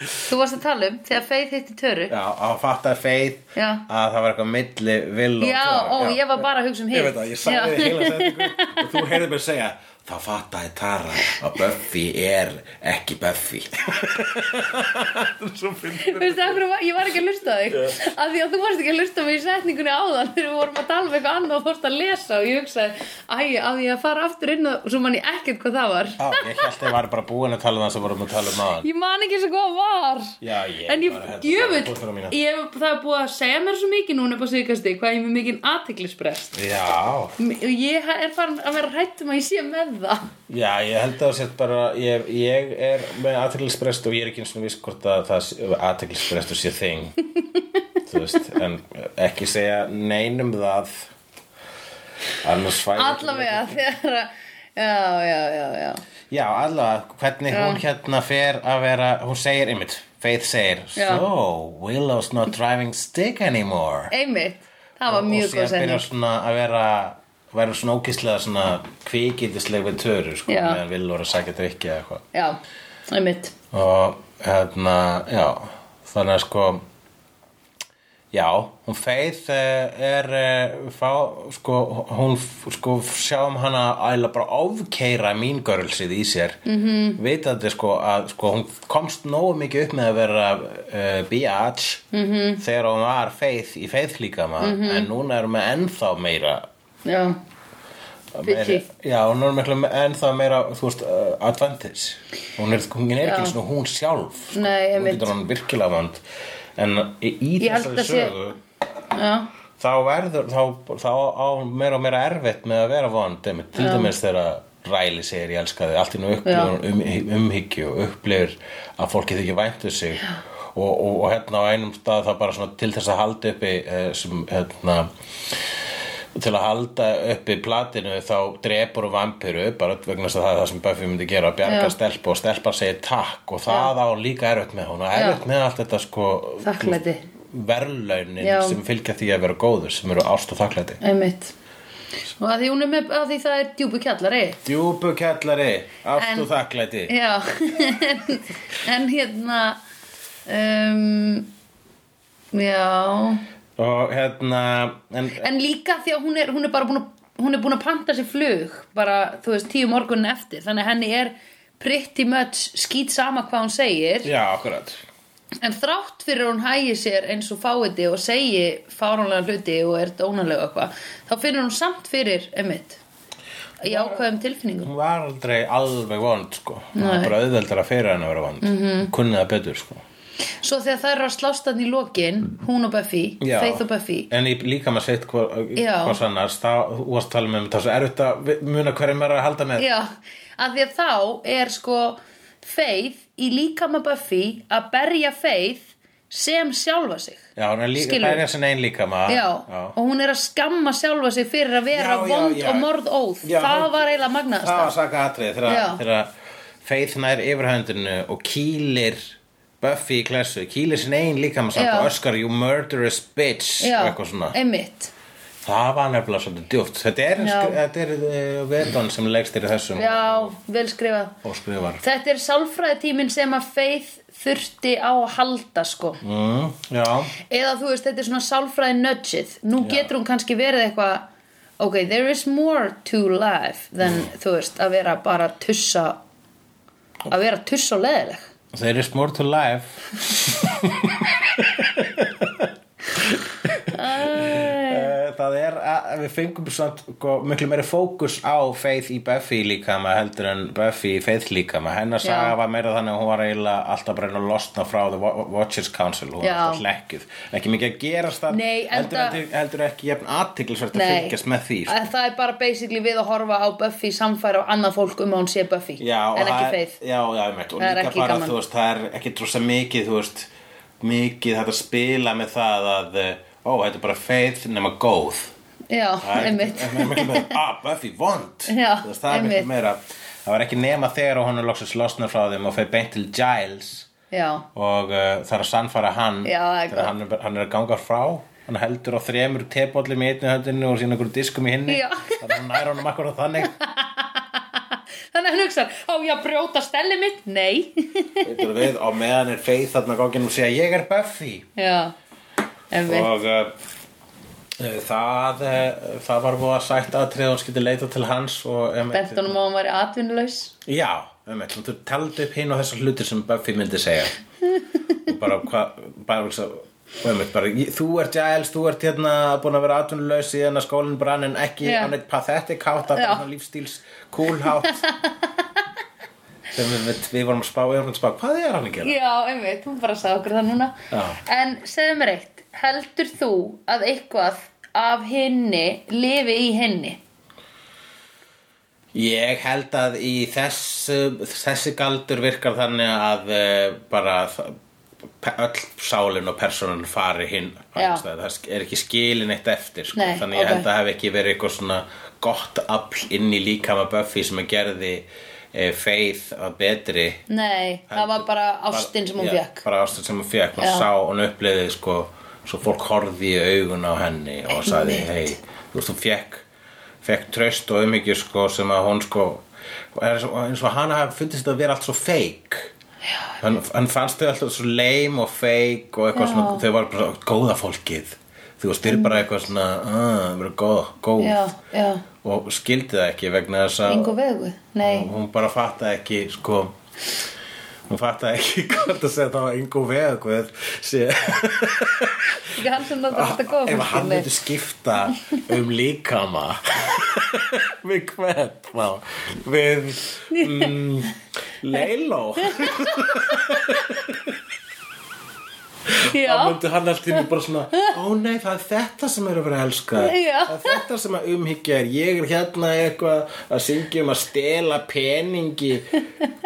[SPEAKER 2] Þú varst að tala um þegar Faith hitti Töru
[SPEAKER 1] Já, að fatta Faith
[SPEAKER 2] Já.
[SPEAKER 1] að það var eitthvað milli vill og
[SPEAKER 2] Já,
[SPEAKER 1] Töru.
[SPEAKER 2] ó, ég var bara að hugsa um hitt
[SPEAKER 1] Ég veit það, ég sagði þið heila setningu og þú heyrðið mér segja þá fattaði Tara að Buffy er ekki Buffy Svo finnir
[SPEAKER 2] Þú veist, af hverju var- ég var ekki að hlusta á þig af því að þú varst ekki að hlusta á mig í setningunni áðan þegar við vorum að tala um eitthvað annað og fórst að lesa og ég hugsaði, æ, á því að fara aftur inn og svo man ég ekkert hvað það var
[SPEAKER 1] Já, ég held að ég var bara búin að tala um það sem vorum að tala um aðan
[SPEAKER 2] Ég man ekki svo hvað var
[SPEAKER 1] Já, ég
[SPEAKER 2] En ég,
[SPEAKER 1] bara held að það var fólkinu
[SPEAKER 2] djöfull,
[SPEAKER 1] mína.
[SPEAKER 2] ég hef það er búið að segja mér svo mikið núna upp á síðkasti hvað ég er með mikið aðteglisbrest
[SPEAKER 1] Já,
[SPEAKER 2] Ég er farin að vera hrætt um að ég sé með það
[SPEAKER 1] já, ég held að það sett bara ég, ég er með aðteglisbrest og ég er ekki eins og viss hvort að það aðteglisbrest og sé þing þú veist, en ekki segja neinum það annars fæður
[SPEAKER 2] Allavega þegar að Já, já, já, já
[SPEAKER 1] Já, allavega, hvernig hún hérna fer að vera, hún segir einmitt, Faith segir,
[SPEAKER 2] Já.
[SPEAKER 1] so, Willow's not driving stick anymore.
[SPEAKER 2] Einmitt, það var mjög
[SPEAKER 1] Og
[SPEAKER 2] góð
[SPEAKER 1] síðan
[SPEAKER 2] setning
[SPEAKER 1] byrjar svona að vera, vera svona ókíslega svona kvikindisleg við töru, sko,
[SPEAKER 2] Já.
[SPEAKER 1] meðan Willow er að sækja drikki eða eitthvað.
[SPEAKER 2] Já, einmitt
[SPEAKER 1] Og hérna, já, þannig að sko, Já, hún Faith eh, er eh, frá, sko, hún f- sko, sjáum hana æla bara ofkeira mín görlsið í sér -hmm. vitandi sko að sko, hún komst nógu mikið upp með að vera uh, biatch -hmm. þegar hún var Faith í Faith líka maður en núna er hún með ennþá meira
[SPEAKER 2] já,
[SPEAKER 1] meiri,
[SPEAKER 2] Bitchy.
[SPEAKER 1] já, hún er miklu með ennþá meira þú veist, uh, advantage hún er, hún er
[SPEAKER 2] Já.
[SPEAKER 1] ekki eins og hún sjálf sko.
[SPEAKER 2] Nei,
[SPEAKER 1] hún
[SPEAKER 2] einmitt.
[SPEAKER 1] getur hann virkilega vond en í, í
[SPEAKER 2] Ég held
[SPEAKER 1] þessari
[SPEAKER 2] að sé-
[SPEAKER 1] sögu
[SPEAKER 2] já,
[SPEAKER 1] þá verður þá, þá á meira og meira erfitt með að vera vond einmitt, til dæmis þegar Ræli segir ég elska þig allt í nú upplifur um, umhyggju og upplifur að fólki þykir væntu sig og, og, og hérna á einum stað þá bara svona til þess að halda uppi eh, sem hérna til að halda uppi platinu þá drepur og vampiru bara vegna þess að það er það sem Buffy myndi gera að bjarga
[SPEAKER 2] Já.
[SPEAKER 1] stelpu og stelpa segir takk og það á hún líka erfitt með hún og erfitt með allt þetta sko
[SPEAKER 2] Þakklæti.
[SPEAKER 1] verðlaunin
[SPEAKER 2] Já.
[SPEAKER 1] sem fylgja því að vera góður sem eru ást og þakklæti
[SPEAKER 2] einmitt og að því hún er með, að því það er djúpu kjallari
[SPEAKER 1] djúpu kjallari, ást
[SPEAKER 2] En-
[SPEAKER 1] og þakklæti
[SPEAKER 2] Já, *laughs* en, en hérna, um, já,
[SPEAKER 1] og hérna en,
[SPEAKER 2] en líka því að hún er, hún er bara búin að, hún er búin að panta sér flug, bara, þú veist, tíu morgunin eftir, þannig að henni er pretty much skýt sama hvað hún segir,
[SPEAKER 1] já, akkurat
[SPEAKER 2] en þrátt fyrir að hún hægi sér eins og fáiði og segi fáránlega hluti og er dónalega eitthvað, þá finnur hún samt fyrir, emitt, í ákveðum tilfinningum.
[SPEAKER 1] hún var aldrei alveg vond sko. hún
[SPEAKER 2] Nei. Mhm.
[SPEAKER 1] var bara auðveldar að fyrir hann að vera vond mm -hmm. kunnið það betur sko.
[SPEAKER 2] Svo þegar það eru að slást hann í lokin, hún og Buffy,
[SPEAKER 1] Já.
[SPEAKER 2] Faith og Buffy,
[SPEAKER 1] en ég líka maður sett hvort
[SPEAKER 2] Já.
[SPEAKER 1] hvort annars þá, þú varst að tala með um þessu erfitt að vi- muna hverjum er að halda með
[SPEAKER 2] Já, að því að þá er sko Faith í líkama Buffy að berja Faith sem sjálfa sig.
[SPEAKER 1] já, hún er líka,
[SPEAKER 2] Skilur.
[SPEAKER 1] það er þessi einn líka maður
[SPEAKER 2] Já, og hún er að skamma sjálfa sig fyrir að vera
[SPEAKER 1] Já, já,
[SPEAKER 2] vond
[SPEAKER 1] já.
[SPEAKER 2] og morðóð.
[SPEAKER 1] Já,
[SPEAKER 2] það
[SPEAKER 1] hún-
[SPEAKER 2] var eiginlega
[SPEAKER 1] það var
[SPEAKER 2] magnaðast.
[SPEAKER 1] saka atrið
[SPEAKER 2] Já.
[SPEAKER 1] þegar, þegar Faith nær yfirhöndinu og kýlir Buffy í klessu, kýlir sin einn líka maður samt
[SPEAKER 2] Já.
[SPEAKER 1] og öskar you murderous bitch
[SPEAKER 2] Já,
[SPEAKER 1] og eitthvað svona
[SPEAKER 2] einmitt.
[SPEAKER 1] það var nefnilega svolítið djúft þetta er,
[SPEAKER 2] Já.
[SPEAKER 1] þetta er uh, veton sem leggst í þessum
[SPEAKER 2] Já, vel skrifað.
[SPEAKER 1] og skrifar
[SPEAKER 2] Þetta er sálfræðitíminn sem að Faith þurfti á að halda sko.
[SPEAKER 1] mm, já
[SPEAKER 2] Eða þú veist, þetta er svona sálfræði nudgeð. Nú getur hún kannski verið eitthvað, ok, there is more to life than,
[SPEAKER 1] Mm.
[SPEAKER 2] þú veist, að vera bara tussa, að vera tussa og leðileg.
[SPEAKER 1] There is more to life Eh, Það er að við fengum samt sko, miklu meiri fókus á Faith í Buffy líkama heldur en Buffy í Faith líkama hennar saga
[SPEAKER 2] Já.
[SPEAKER 1] var meira þannig að hún var eiginlega alltaf bara að reyna að losna frá The Wa- Watchers Council hún var
[SPEAKER 2] Já.
[SPEAKER 1] alltaf hlekkið ekki mikið að gerast það
[SPEAKER 2] Nei,
[SPEAKER 1] heldur,
[SPEAKER 2] enda-
[SPEAKER 1] heldur, heldur ekki jafn aðtiklisvert að
[SPEAKER 2] Nei.
[SPEAKER 1] fylgjast með því sko.
[SPEAKER 2] Að það er bara basically við að horfa á Buffy samfæra á annað fólk um að hún sé Buffy.
[SPEAKER 1] já, og
[SPEAKER 2] en ekki
[SPEAKER 1] það er-
[SPEAKER 2] Faith.
[SPEAKER 1] já, já, einmitt, og
[SPEAKER 2] Það er
[SPEAKER 1] líka
[SPEAKER 2] ekki
[SPEAKER 1] bara,
[SPEAKER 2] gaman.
[SPEAKER 1] þú veist, það er ekki drosa mikið, þú veist mikið þetta spila með það að eh, ó, þetta er bara faith nema góð
[SPEAKER 2] Já,
[SPEAKER 1] Það er-
[SPEAKER 2] einmitt.
[SPEAKER 1] það er miklu meira, ah, Buffy, vond
[SPEAKER 2] *laughs* Já,
[SPEAKER 1] Þú veist, það er miklu
[SPEAKER 2] einmitt.
[SPEAKER 1] meira það var ekki nema þegar og hann er loksins losnar frá þeim og fer beint til Giles
[SPEAKER 2] *laughs* Já,
[SPEAKER 1] og uh, það er að sannfæra hann
[SPEAKER 2] Já, það er gott.
[SPEAKER 1] þegar hann er, hann er að ganga frá hann heldur á þremur tebollum í einni höndinu og síðan einhverjum diskum í hinni
[SPEAKER 2] Já.
[SPEAKER 1] þannig að hann nær honum akkur á þannig
[SPEAKER 2] þannig að hann hugsa, á ég að brjóta stellið mitt? Nei. *laughs*
[SPEAKER 1] Veitur við, á meðan er Faith þarna ganginn og segja ég er Buffy
[SPEAKER 2] já, einmitt.
[SPEAKER 1] og uh, það uh, það var búið að sætt aðtrið hún skyldi leita til hans og um,
[SPEAKER 2] Bent honum að hún væri atvinnulaus.
[SPEAKER 1] já, um, hún þú taldi upp hinn og þessar hlutir sem Buffy myndi segja og bara hvað bara, hugsa, um, bara, ég- þú ert Giles, þú ert hérna búin að vera atvinnulegs síðan að skólinn brann en ekki
[SPEAKER 2] Já.
[SPEAKER 1] á neitt pathetic hátt að
[SPEAKER 2] Já.
[SPEAKER 1] það lífstíls cool
[SPEAKER 2] *laughs*
[SPEAKER 1] hátt sem við, við, við vorum að spá, við vorum að spá hvað er hann að gera?
[SPEAKER 2] Já, einmitt, hún bara sagði okkur það núna
[SPEAKER 1] Já.
[SPEAKER 2] En segðu mér eitt Heldur þú að eitthvað af henni lifi í henni?
[SPEAKER 1] Ég held að í þessu, þessi galdur virkar þannig að uh, bara þ- pe- öll sálinn og persónan fari hinn
[SPEAKER 2] Já.
[SPEAKER 1] annars staðar. það sk- er ekki skilin eitt eftir sko.
[SPEAKER 2] Nei,
[SPEAKER 1] þannig ég
[SPEAKER 2] ok.
[SPEAKER 1] held að hafi ekki verið eitthvað svona gott afl inn í líkama Buffy sem að gerði e, Faith að betri
[SPEAKER 2] Nei, það var bara ástin sem hún
[SPEAKER 1] Já,
[SPEAKER 2] fekk
[SPEAKER 1] bara ástin sem hún fekk, hún
[SPEAKER 2] Já.
[SPEAKER 1] sá, hún upplifði sko, svo fólk horfði í augun á henni og sagði, hei, þú veist, hún fekk fekk tröst og umhyggju sko, sem að hún sko, er, eins og- eins og hana hafði fundist að vera allt svo feik hann, hann fannst þau alltaf svo leim og feik og eitthvað
[SPEAKER 2] Já.
[SPEAKER 1] svona, þau var bara svo góða fólkið þú veist, þau eru bara eitthvað svona að, vera góð, góð
[SPEAKER 2] já, já,
[SPEAKER 1] og skildi það ekki vegna þess að
[SPEAKER 2] engu vegu nei,
[SPEAKER 1] og hún bara fattaði ekki sko hún fattaði ekki *laughs* hvort að segja það var engu vegu sé,
[SPEAKER 2] ekki hann sem náttúrulega þetta góða
[SPEAKER 1] Ah, ef
[SPEAKER 2] fólki
[SPEAKER 1] hann
[SPEAKER 2] nei.
[SPEAKER 1] myndi skipta um líkama *laughs* við hvern þá við mm, Leiló þá
[SPEAKER 2] já,
[SPEAKER 1] myndi hann alltaf bara svona ó nei það er þetta sem er að vera elska
[SPEAKER 2] Já.
[SPEAKER 1] það er þetta sem að umhyggja er ég er hérna eitthvað að syngja um að stela peningi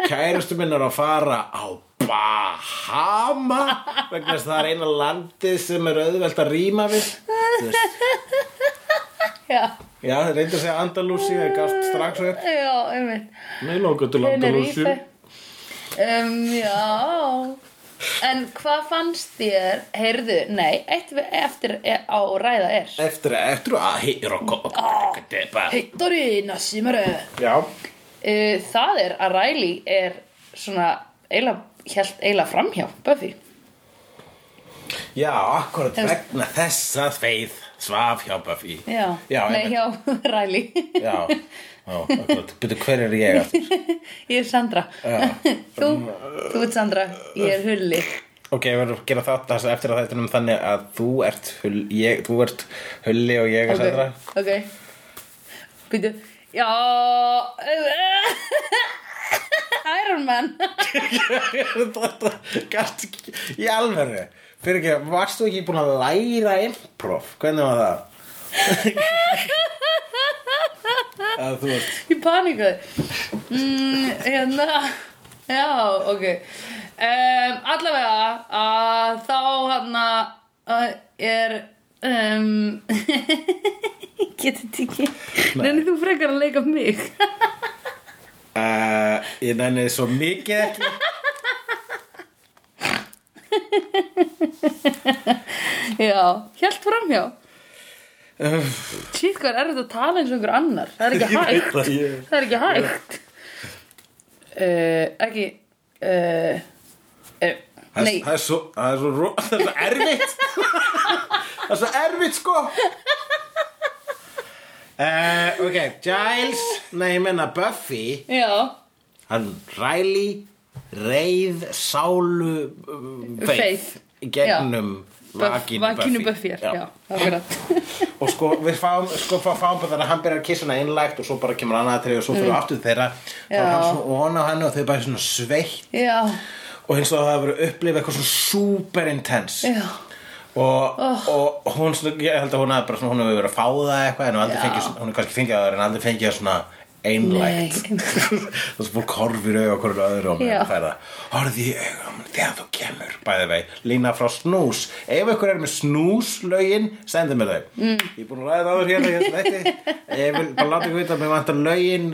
[SPEAKER 1] kærustu minn er að fara á Bahama vegna þess að það er eina landið sem er auðvelt að rýma við Þú veist,
[SPEAKER 2] já,
[SPEAKER 1] já, það reyndi að segja Andalúsi það gafst strax upp
[SPEAKER 2] já, einmitt
[SPEAKER 1] nei, lóka til Andalúsi
[SPEAKER 2] Tenerife. um, já en hvað fannst þér heyrðu, nei, eitt við- eftir e- á ræða er
[SPEAKER 1] eftir, eftir að hýra og
[SPEAKER 2] Hittori Nassimara
[SPEAKER 1] já,
[SPEAKER 2] uh, það er að Riley er svona eila, held eila framhjá Buffy
[SPEAKER 1] já, akkurat
[SPEAKER 2] Þú veist-
[SPEAKER 1] vegna þess að feið svaf hjá Buffy
[SPEAKER 2] já,
[SPEAKER 1] Já,
[SPEAKER 2] nei,
[SPEAKER 1] einmitt.
[SPEAKER 2] hjá *laughs* Riley
[SPEAKER 1] Já, já, akkurat Byrju, hver er ég aftur?
[SPEAKER 2] *laughs* ég er Sandra *laughs* þú, þú ert Sandra, ég er Hulli
[SPEAKER 1] Ok, ég verður að gera þátt þess- eftir að þetta um þannig að þú ert, hull, ég, þú ert hulli og ég er *laughs* sætra
[SPEAKER 2] ok býtu, já *laughs* Iron Man
[SPEAKER 1] Þetta gæst ekki í alvöru Fyrir ekki, varst þú ekki búin að læra improv? Hvernig var það?
[SPEAKER 2] *laughs*
[SPEAKER 1] að þú ert
[SPEAKER 2] ég panikaði mm, hérna já, ok um, allavega að þá hann að er um, *laughs* getur þetta ekki nenni þú frekar að leika
[SPEAKER 1] *laughs*
[SPEAKER 2] mig
[SPEAKER 1] uh, Ég nenni svo mikið ekki
[SPEAKER 2] já, hjælt framhjá
[SPEAKER 1] Úff.
[SPEAKER 2] Sýtt hvað er þetta að tala eins og einhver annar Það er ekki
[SPEAKER 1] *laughs* Ég veit
[SPEAKER 2] hægt
[SPEAKER 1] það, ég-
[SPEAKER 2] Það er ekki hægt uh, Ekki uh, uh,
[SPEAKER 1] Það
[SPEAKER 2] Nei
[SPEAKER 1] er- það er svo, það er svo, ro- *laughs* það er svo erfitt Það er svo erfitt sko uh, Ok, Giles Nei, ég menna Buffy
[SPEAKER 2] Já,
[SPEAKER 1] Hann Riley Reið Sálu uh, Faith
[SPEAKER 2] Faith.
[SPEAKER 1] Gegnum
[SPEAKER 2] Buff-
[SPEAKER 1] vakinu Buffy,
[SPEAKER 2] Vakinu Buffy er, Já, akkurat
[SPEAKER 1] *laughs* Og sko, við fáum, sko, fá- fáum bara þannig að hann byrjar að kissa hana einlægt og svo bara kemur annað atriði og svo fyrir aftur þeirra Þá er
[SPEAKER 2] Mm. Já.
[SPEAKER 1] hann svona ofan á henni og þau bara svona sveitt
[SPEAKER 2] Já,
[SPEAKER 1] og eins og það hafa verið að upplifa eitthvað svona super intense
[SPEAKER 2] já
[SPEAKER 1] og,
[SPEAKER 2] Oh.
[SPEAKER 1] og hún svona, ég held að hún hafi bara svona, hún hefur verið að fá það eitthvað en hún aldrei
[SPEAKER 2] Já.
[SPEAKER 1] fengið, svona- hún er kannski fengið að það en aldrei fengið það svona *laughs* einlægt
[SPEAKER 2] Nei.
[SPEAKER 1] þess að fólk horfir auðvitað okkur öðru og
[SPEAKER 2] Já.
[SPEAKER 1] meðan færa horfið í augum þegar þú kemur bæði vei, lína frá snús ef ykkur er með snúslaugin sendu mér þau, mm. ég er búin að ræða áður hérna ég
[SPEAKER 2] *laughs*
[SPEAKER 1] þetta, ég vil bara láta ykkur vita að mér vantar laugin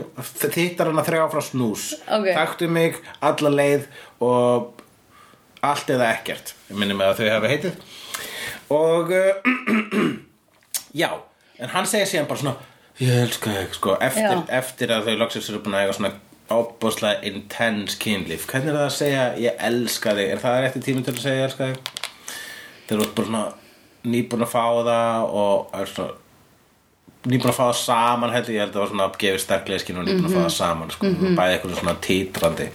[SPEAKER 1] þittar hann að þrjá frá snús
[SPEAKER 2] Ok.
[SPEAKER 1] taktu mig alla leið og allt eða ekkert ég minni mig að þau hafa heitið og uh, *clears throat* Já, en hann segir síðan bara svona Ég elska þig, sko Eftir,
[SPEAKER 2] Já.
[SPEAKER 1] eftir að þau loksins eru búin að eiga svona Óbúslega intense kynlíf Hvernig er það að segja ég elska þig Er það rétti tími til að segja ég elska þig? Þeir eru bara svona Nýbúin að fá það Og er svona nýbúin að fá það saman held ég, ég held að það var svona að gefa sterklega skinn og nýbúin að
[SPEAKER 2] Mhm.
[SPEAKER 1] fá það saman sko, bæði eitthvað svona
[SPEAKER 2] *laughs*
[SPEAKER 1] títrandi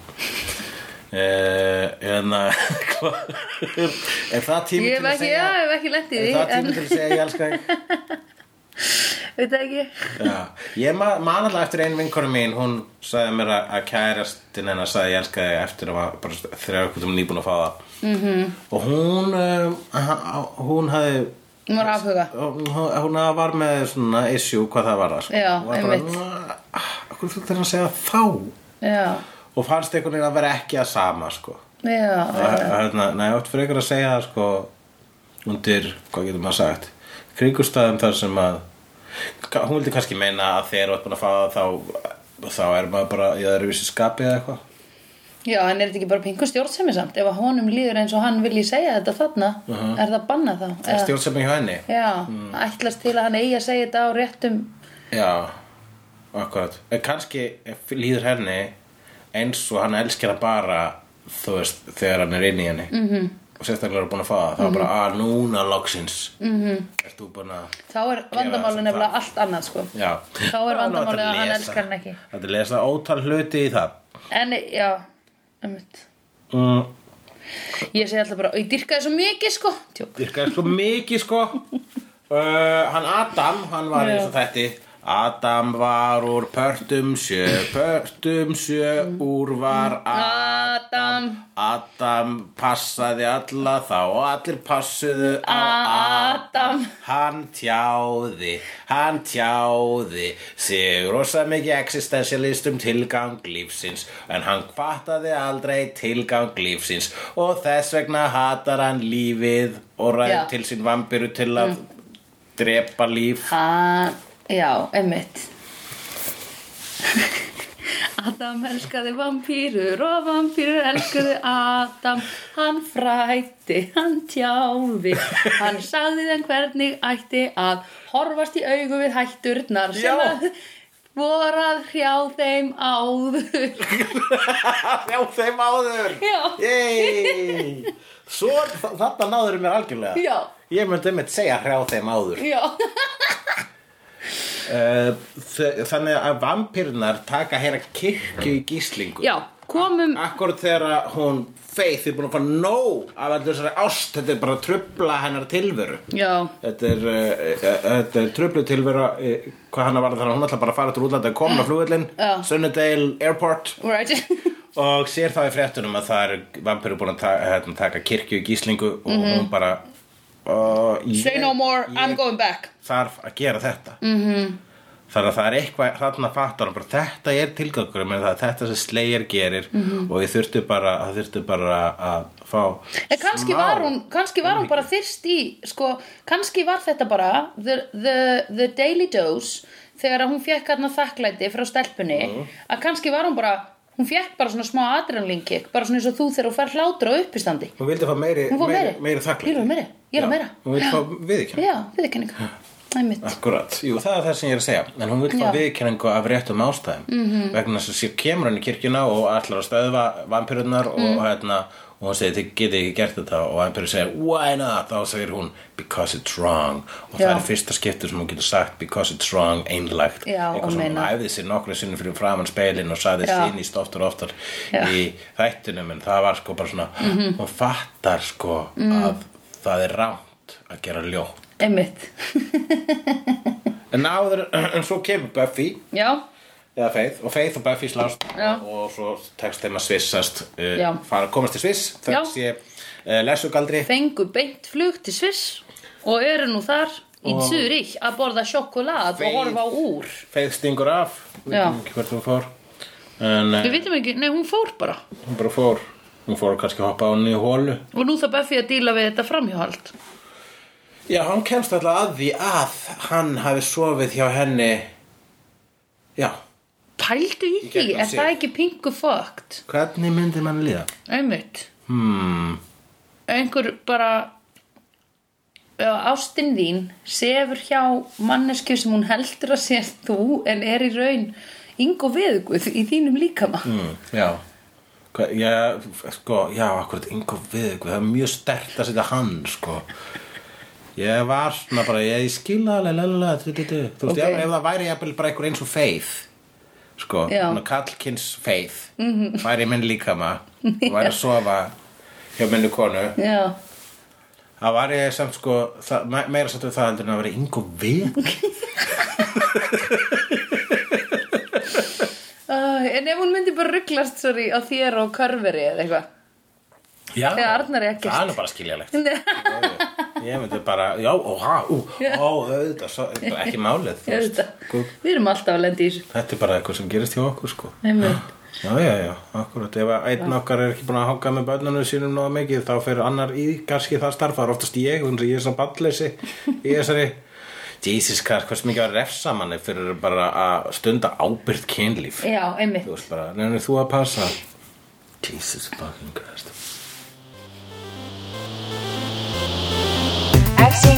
[SPEAKER 1] uh, en *laughs* að er það tími til
[SPEAKER 2] Ég hef
[SPEAKER 1] að
[SPEAKER 2] ekki,
[SPEAKER 1] segja
[SPEAKER 2] já, hef ekki lent í
[SPEAKER 1] er
[SPEAKER 2] því
[SPEAKER 1] það
[SPEAKER 2] En,
[SPEAKER 1] tími til að segja ég elska þig
[SPEAKER 2] veit það ekki
[SPEAKER 1] Já, ég ma man alltaf eftir ein vinkonu mín hún sagði mér að að kærastin hennar sagði ég elska þig eftir að var bara þrjár kvöldum nýbúin að fá það
[SPEAKER 2] Mhm.
[SPEAKER 1] -hmm. og hún uh, hún hafði
[SPEAKER 2] Hún var afhuga
[SPEAKER 1] hún hún var með svona issue hvað það var það sko.
[SPEAKER 2] Já,
[SPEAKER 1] Hún var
[SPEAKER 2] einmitt.
[SPEAKER 1] bara, "Ah, hvernig þú þarf að segja þá
[SPEAKER 2] Já,
[SPEAKER 1] og fannst einhvern veginn að vera ekki að sama sko
[SPEAKER 2] já,
[SPEAKER 1] Að- að- hérna, Nei, oft fyrir ykkur að segja það sko undir, hvað getur maður sagt kringustæðum þar sem að Ka- hún vildi kannski meina að þegar þú ert búin að fá það þá þá er maður bara í öðruvísi skapi eða eitthvað
[SPEAKER 2] já, en er þetta ekki bara pingu stjórnsemi samt Ef að honum líður eins og hann vilji segja þetta þarna Er það bannað þá?
[SPEAKER 1] er
[SPEAKER 2] Eða-
[SPEAKER 1] stjórnsefni hjá henni
[SPEAKER 2] Já,
[SPEAKER 1] Hmm.
[SPEAKER 2] ætlast til að hann eigi að segja þetta á réttum
[SPEAKER 1] já, akkurat en kannski líður henni eins og hann elskir að bara þú veist, þegar hann er inn í henni
[SPEAKER 2] Mhm.
[SPEAKER 1] -hmm. og sérstaklega er búin að fá það þá er bara, að núna loksins
[SPEAKER 2] Mhm.
[SPEAKER 1] -hmm. ert þú búin að
[SPEAKER 2] Þá er vandamálið
[SPEAKER 1] sem
[SPEAKER 2] nefnilega allt annað sko
[SPEAKER 1] já.
[SPEAKER 2] Þá er vandamálið að hann
[SPEAKER 1] lesa-
[SPEAKER 2] elskar hann ekki.
[SPEAKER 1] Það er að lesa ótal hluti í það
[SPEAKER 2] En já, umhvitt
[SPEAKER 1] mm,
[SPEAKER 2] Ég segi alltaf bara, ég dyrka það svo mikið sko Tjók
[SPEAKER 1] virkaði svo mikið sko uh, hann Adam hann var eins og þetta Adam var úr pörtum sjö pörtum sjö úr var Adam
[SPEAKER 2] Adam
[SPEAKER 1] Adam passaði alla þá og allir passuðu á
[SPEAKER 2] Adam
[SPEAKER 1] Hann tjáði, hann tjáði sig rosa mikið existentialist um tilgang lífsins en hann kvartaði aldrei tilgang lífsins og þess vegna hatar hann lífið og ræður
[SPEAKER 2] Já. Mm.
[SPEAKER 1] til sín vampiru til að drepa líf
[SPEAKER 2] Hann, já, einmitt *laughs* Adam elskaði vampýrur og vampýrur elskaði Adam Hann frætti, hann tjáði Hann sagði þeim hvernig ætti að horfast í augu við hætturnar sem
[SPEAKER 1] Já.
[SPEAKER 2] að voru að hrjá þeim áður
[SPEAKER 1] *laughs*
[SPEAKER 2] *laughs*
[SPEAKER 1] Já, þeim áður
[SPEAKER 2] Já.
[SPEAKER 1] Yey. Svo, þetta náður mér algjörlega
[SPEAKER 2] Já,
[SPEAKER 1] Ég myndi einmitt segja hrjá þeim áður
[SPEAKER 2] já,
[SPEAKER 1] Eh, þ- Þannig að vampirnar taka hérna kirkju í gíslingu
[SPEAKER 2] já, komum
[SPEAKER 1] Akkurat þegar að hún Faith er búin að fá nóg af allir þessari ást, þetta er bara að trubla hennar tilveru
[SPEAKER 2] Já,
[SPEAKER 1] Þetta er, uh, uh, þetta er trublu tilveru uh, hvað hann var þannig að hún ætla bara að fara til útlanda að komna flugvillin,
[SPEAKER 2] Já.
[SPEAKER 1] Sunnudale Airport
[SPEAKER 2] right *laughs*
[SPEAKER 1] og sér þá í fréttunum að það er vampirur búin að ta hérna, taka kirkju í gíslingu og hún bara uh, ég,
[SPEAKER 2] Mhm. Say no more, I'm
[SPEAKER 1] ég-
[SPEAKER 2] going back
[SPEAKER 1] þarf að gera þetta -hmm.
[SPEAKER 2] Mhm.
[SPEAKER 1] þannig að það er eitthvað þarna fattar hann bara þetta er tilgangur með það þetta sem Slayer gerir
[SPEAKER 2] Mhm.
[SPEAKER 1] -hmm. og ég þurfti bara að þurfti bara að fá
[SPEAKER 2] En kannski
[SPEAKER 1] smá-
[SPEAKER 2] var hún, kannski var hún bara þyrst í, sko, kannski var þetta bara the, the, the daily dose þegar að hún fekk hérna þakklæti frá stelpunni að kannski var hún bara, hún fekk bara svona smá adrenalinkik, bara svona eins og þú þegar hún fer hlátur á uppistandi.
[SPEAKER 1] hún vildi fá meiri,
[SPEAKER 2] Hún fór
[SPEAKER 1] meiri,
[SPEAKER 2] meiri,
[SPEAKER 1] meiri þakklæti
[SPEAKER 2] Ég er meiri, ég er
[SPEAKER 1] Já,
[SPEAKER 2] meira.
[SPEAKER 1] hún vildi fá viðurkenningu
[SPEAKER 2] Já, viðurkenninga. Það er mitt.
[SPEAKER 1] Akkurat, jú, það er það sem ég er að segja en hún vil fá
[SPEAKER 2] Já. Mhm.
[SPEAKER 1] viðkenningu af réttum ástæðum -hmm. vegna þess að sér kemur hann í kirkjuna og ætlar að stöðva vampirurnar
[SPEAKER 2] Mhm.
[SPEAKER 1] og hérna og hún segir, þið getið ekki gert þetta og vampirur segir, why not, þá segir hún because it's wrong og það
[SPEAKER 2] Já.
[SPEAKER 1] er fyrsta skiptur sem hún getur sagt because it's wrong einlægt,
[SPEAKER 2] Já, og
[SPEAKER 1] eitthvað sem hún
[SPEAKER 2] meina.
[SPEAKER 1] æfði sér nokkru sinni fyrir framan speilin og saði
[SPEAKER 2] Já.
[SPEAKER 1] sínist oftar og oftar
[SPEAKER 2] Já. Mhm.
[SPEAKER 1] í þættunum en það var sko bara svona hún fattar sko að það er rámt að gera ljótt
[SPEAKER 2] Einmitt. *laughs*
[SPEAKER 1] En áður, en svo kemur Buffy
[SPEAKER 2] Já,
[SPEAKER 1] eða Faith, og Faith og Buffy slást
[SPEAKER 2] Já.
[SPEAKER 1] og svo tekst þeim að svissast
[SPEAKER 2] Já.
[SPEAKER 1] uh, fara að komast til sviss
[SPEAKER 2] Já.
[SPEAKER 1] þess ég uh, lesugaldri
[SPEAKER 2] fengu beint flug til Sviss og eru nú þar í
[SPEAKER 1] Og-
[SPEAKER 2] Zurich að borða sjokolad
[SPEAKER 1] Feið.
[SPEAKER 2] og horfa á úr.
[SPEAKER 1] Faith stingur af, við
[SPEAKER 2] Já.
[SPEAKER 1] veitum ekki hvert hún fór en uh,
[SPEAKER 2] Við vitum ekki, nei hún fór bara.
[SPEAKER 1] hún bara fór hún fór kannski að hoppa á henni í hólu
[SPEAKER 2] Og nú þarf Buffy að díla við þetta framhjóhald.
[SPEAKER 1] Já, hann kemst alltaf að því að hann hafi sofið hjá henni Já,
[SPEAKER 2] Pældu í
[SPEAKER 1] Í
[SPEAKER 2] því,
[SPEAKER 1] gegnum
[SPEAKER 2] er
[SPEAKER 1] sig.
[SPEAKER 2] það ekki pingu fucked?
[SPEAKER 1] hvernig myndi mann líða?
[SPEAKER 2] Einmitt.
[SPEAKER 1] Hmm,
[SPEAKER 2] Einhver bara, já, ástin þín sefur hjá mannesku sem hún heldur að sé þú en er í raun yngo viðguð í þínum líkama.
[SPEAKER 1] mm, já Hva, já, sko, já, akkurat yngur við ykkur, það er mjög stert að setja hann, sko ég var svona bara, ég, ég skila alveg lalala, þú veist,
[SPEAKER 2] Ok.
[SPEAKER 1] ef, ef það væri jafnvel bara einhver eins og Faith sko,
[SPEAKER 2] Já. Mhm.
[SPEAKER 1] svona kallkins Faith mm -hmm. væri minn
[SPEAKER 2] *laughs*
[SPEAKER 1] líkama og væri að sofa hjá minni konu
[SPEAKER 2] Já,
[SPEAKER 1] það væri samt sko það, me- meira satt við það heldur en að væri yngur við
[SPEAKER 2] uh, en ef hún myndi bara rugglast, sorry, á þér og körveri eða eitthvað. *laughs*
[SPEAKER 1] já,
[SPEAKER 2] Þegar Arnar er ekkert.
[SPEAKER 1] það er nú bara skiljalegt
[SPEAKER 2] Nei,
[SPEAKER 1] ég myndi bara, já, ó, ha, ú, ó, auðvitað, svo, bara ekki málið, þú veist,
[SPEAKER 2] auðvitað.
[SPEAKER 1] sko,
[SPEAKER 2] Við erum alltaf að lenda í þessu.
[SPEAKER 1] þetta er bara eitthvað sem gerist hjá okkur, sko.
[SPEAKER 2] Einmitt.
[SPEAKER 1] Já, já, já, akkurat, ef að einn okkar er ekki búin að hanga með börnunum sínum náða mikið, þá fyrir annar í, kannski það starfar, oftast ég, hún sem ég er svo balleysi í þessari, Jesus, hvað, hversu mikið að refsa manni fyrir bara að stunda ábyrgt kynlíf,
[SPEAKER 2] Já, einmitt.
[SPEAKER 1] þú veist bara, nefnir þú að passa, Jesus fucking Christ.
[SPEAKER 4] I've seen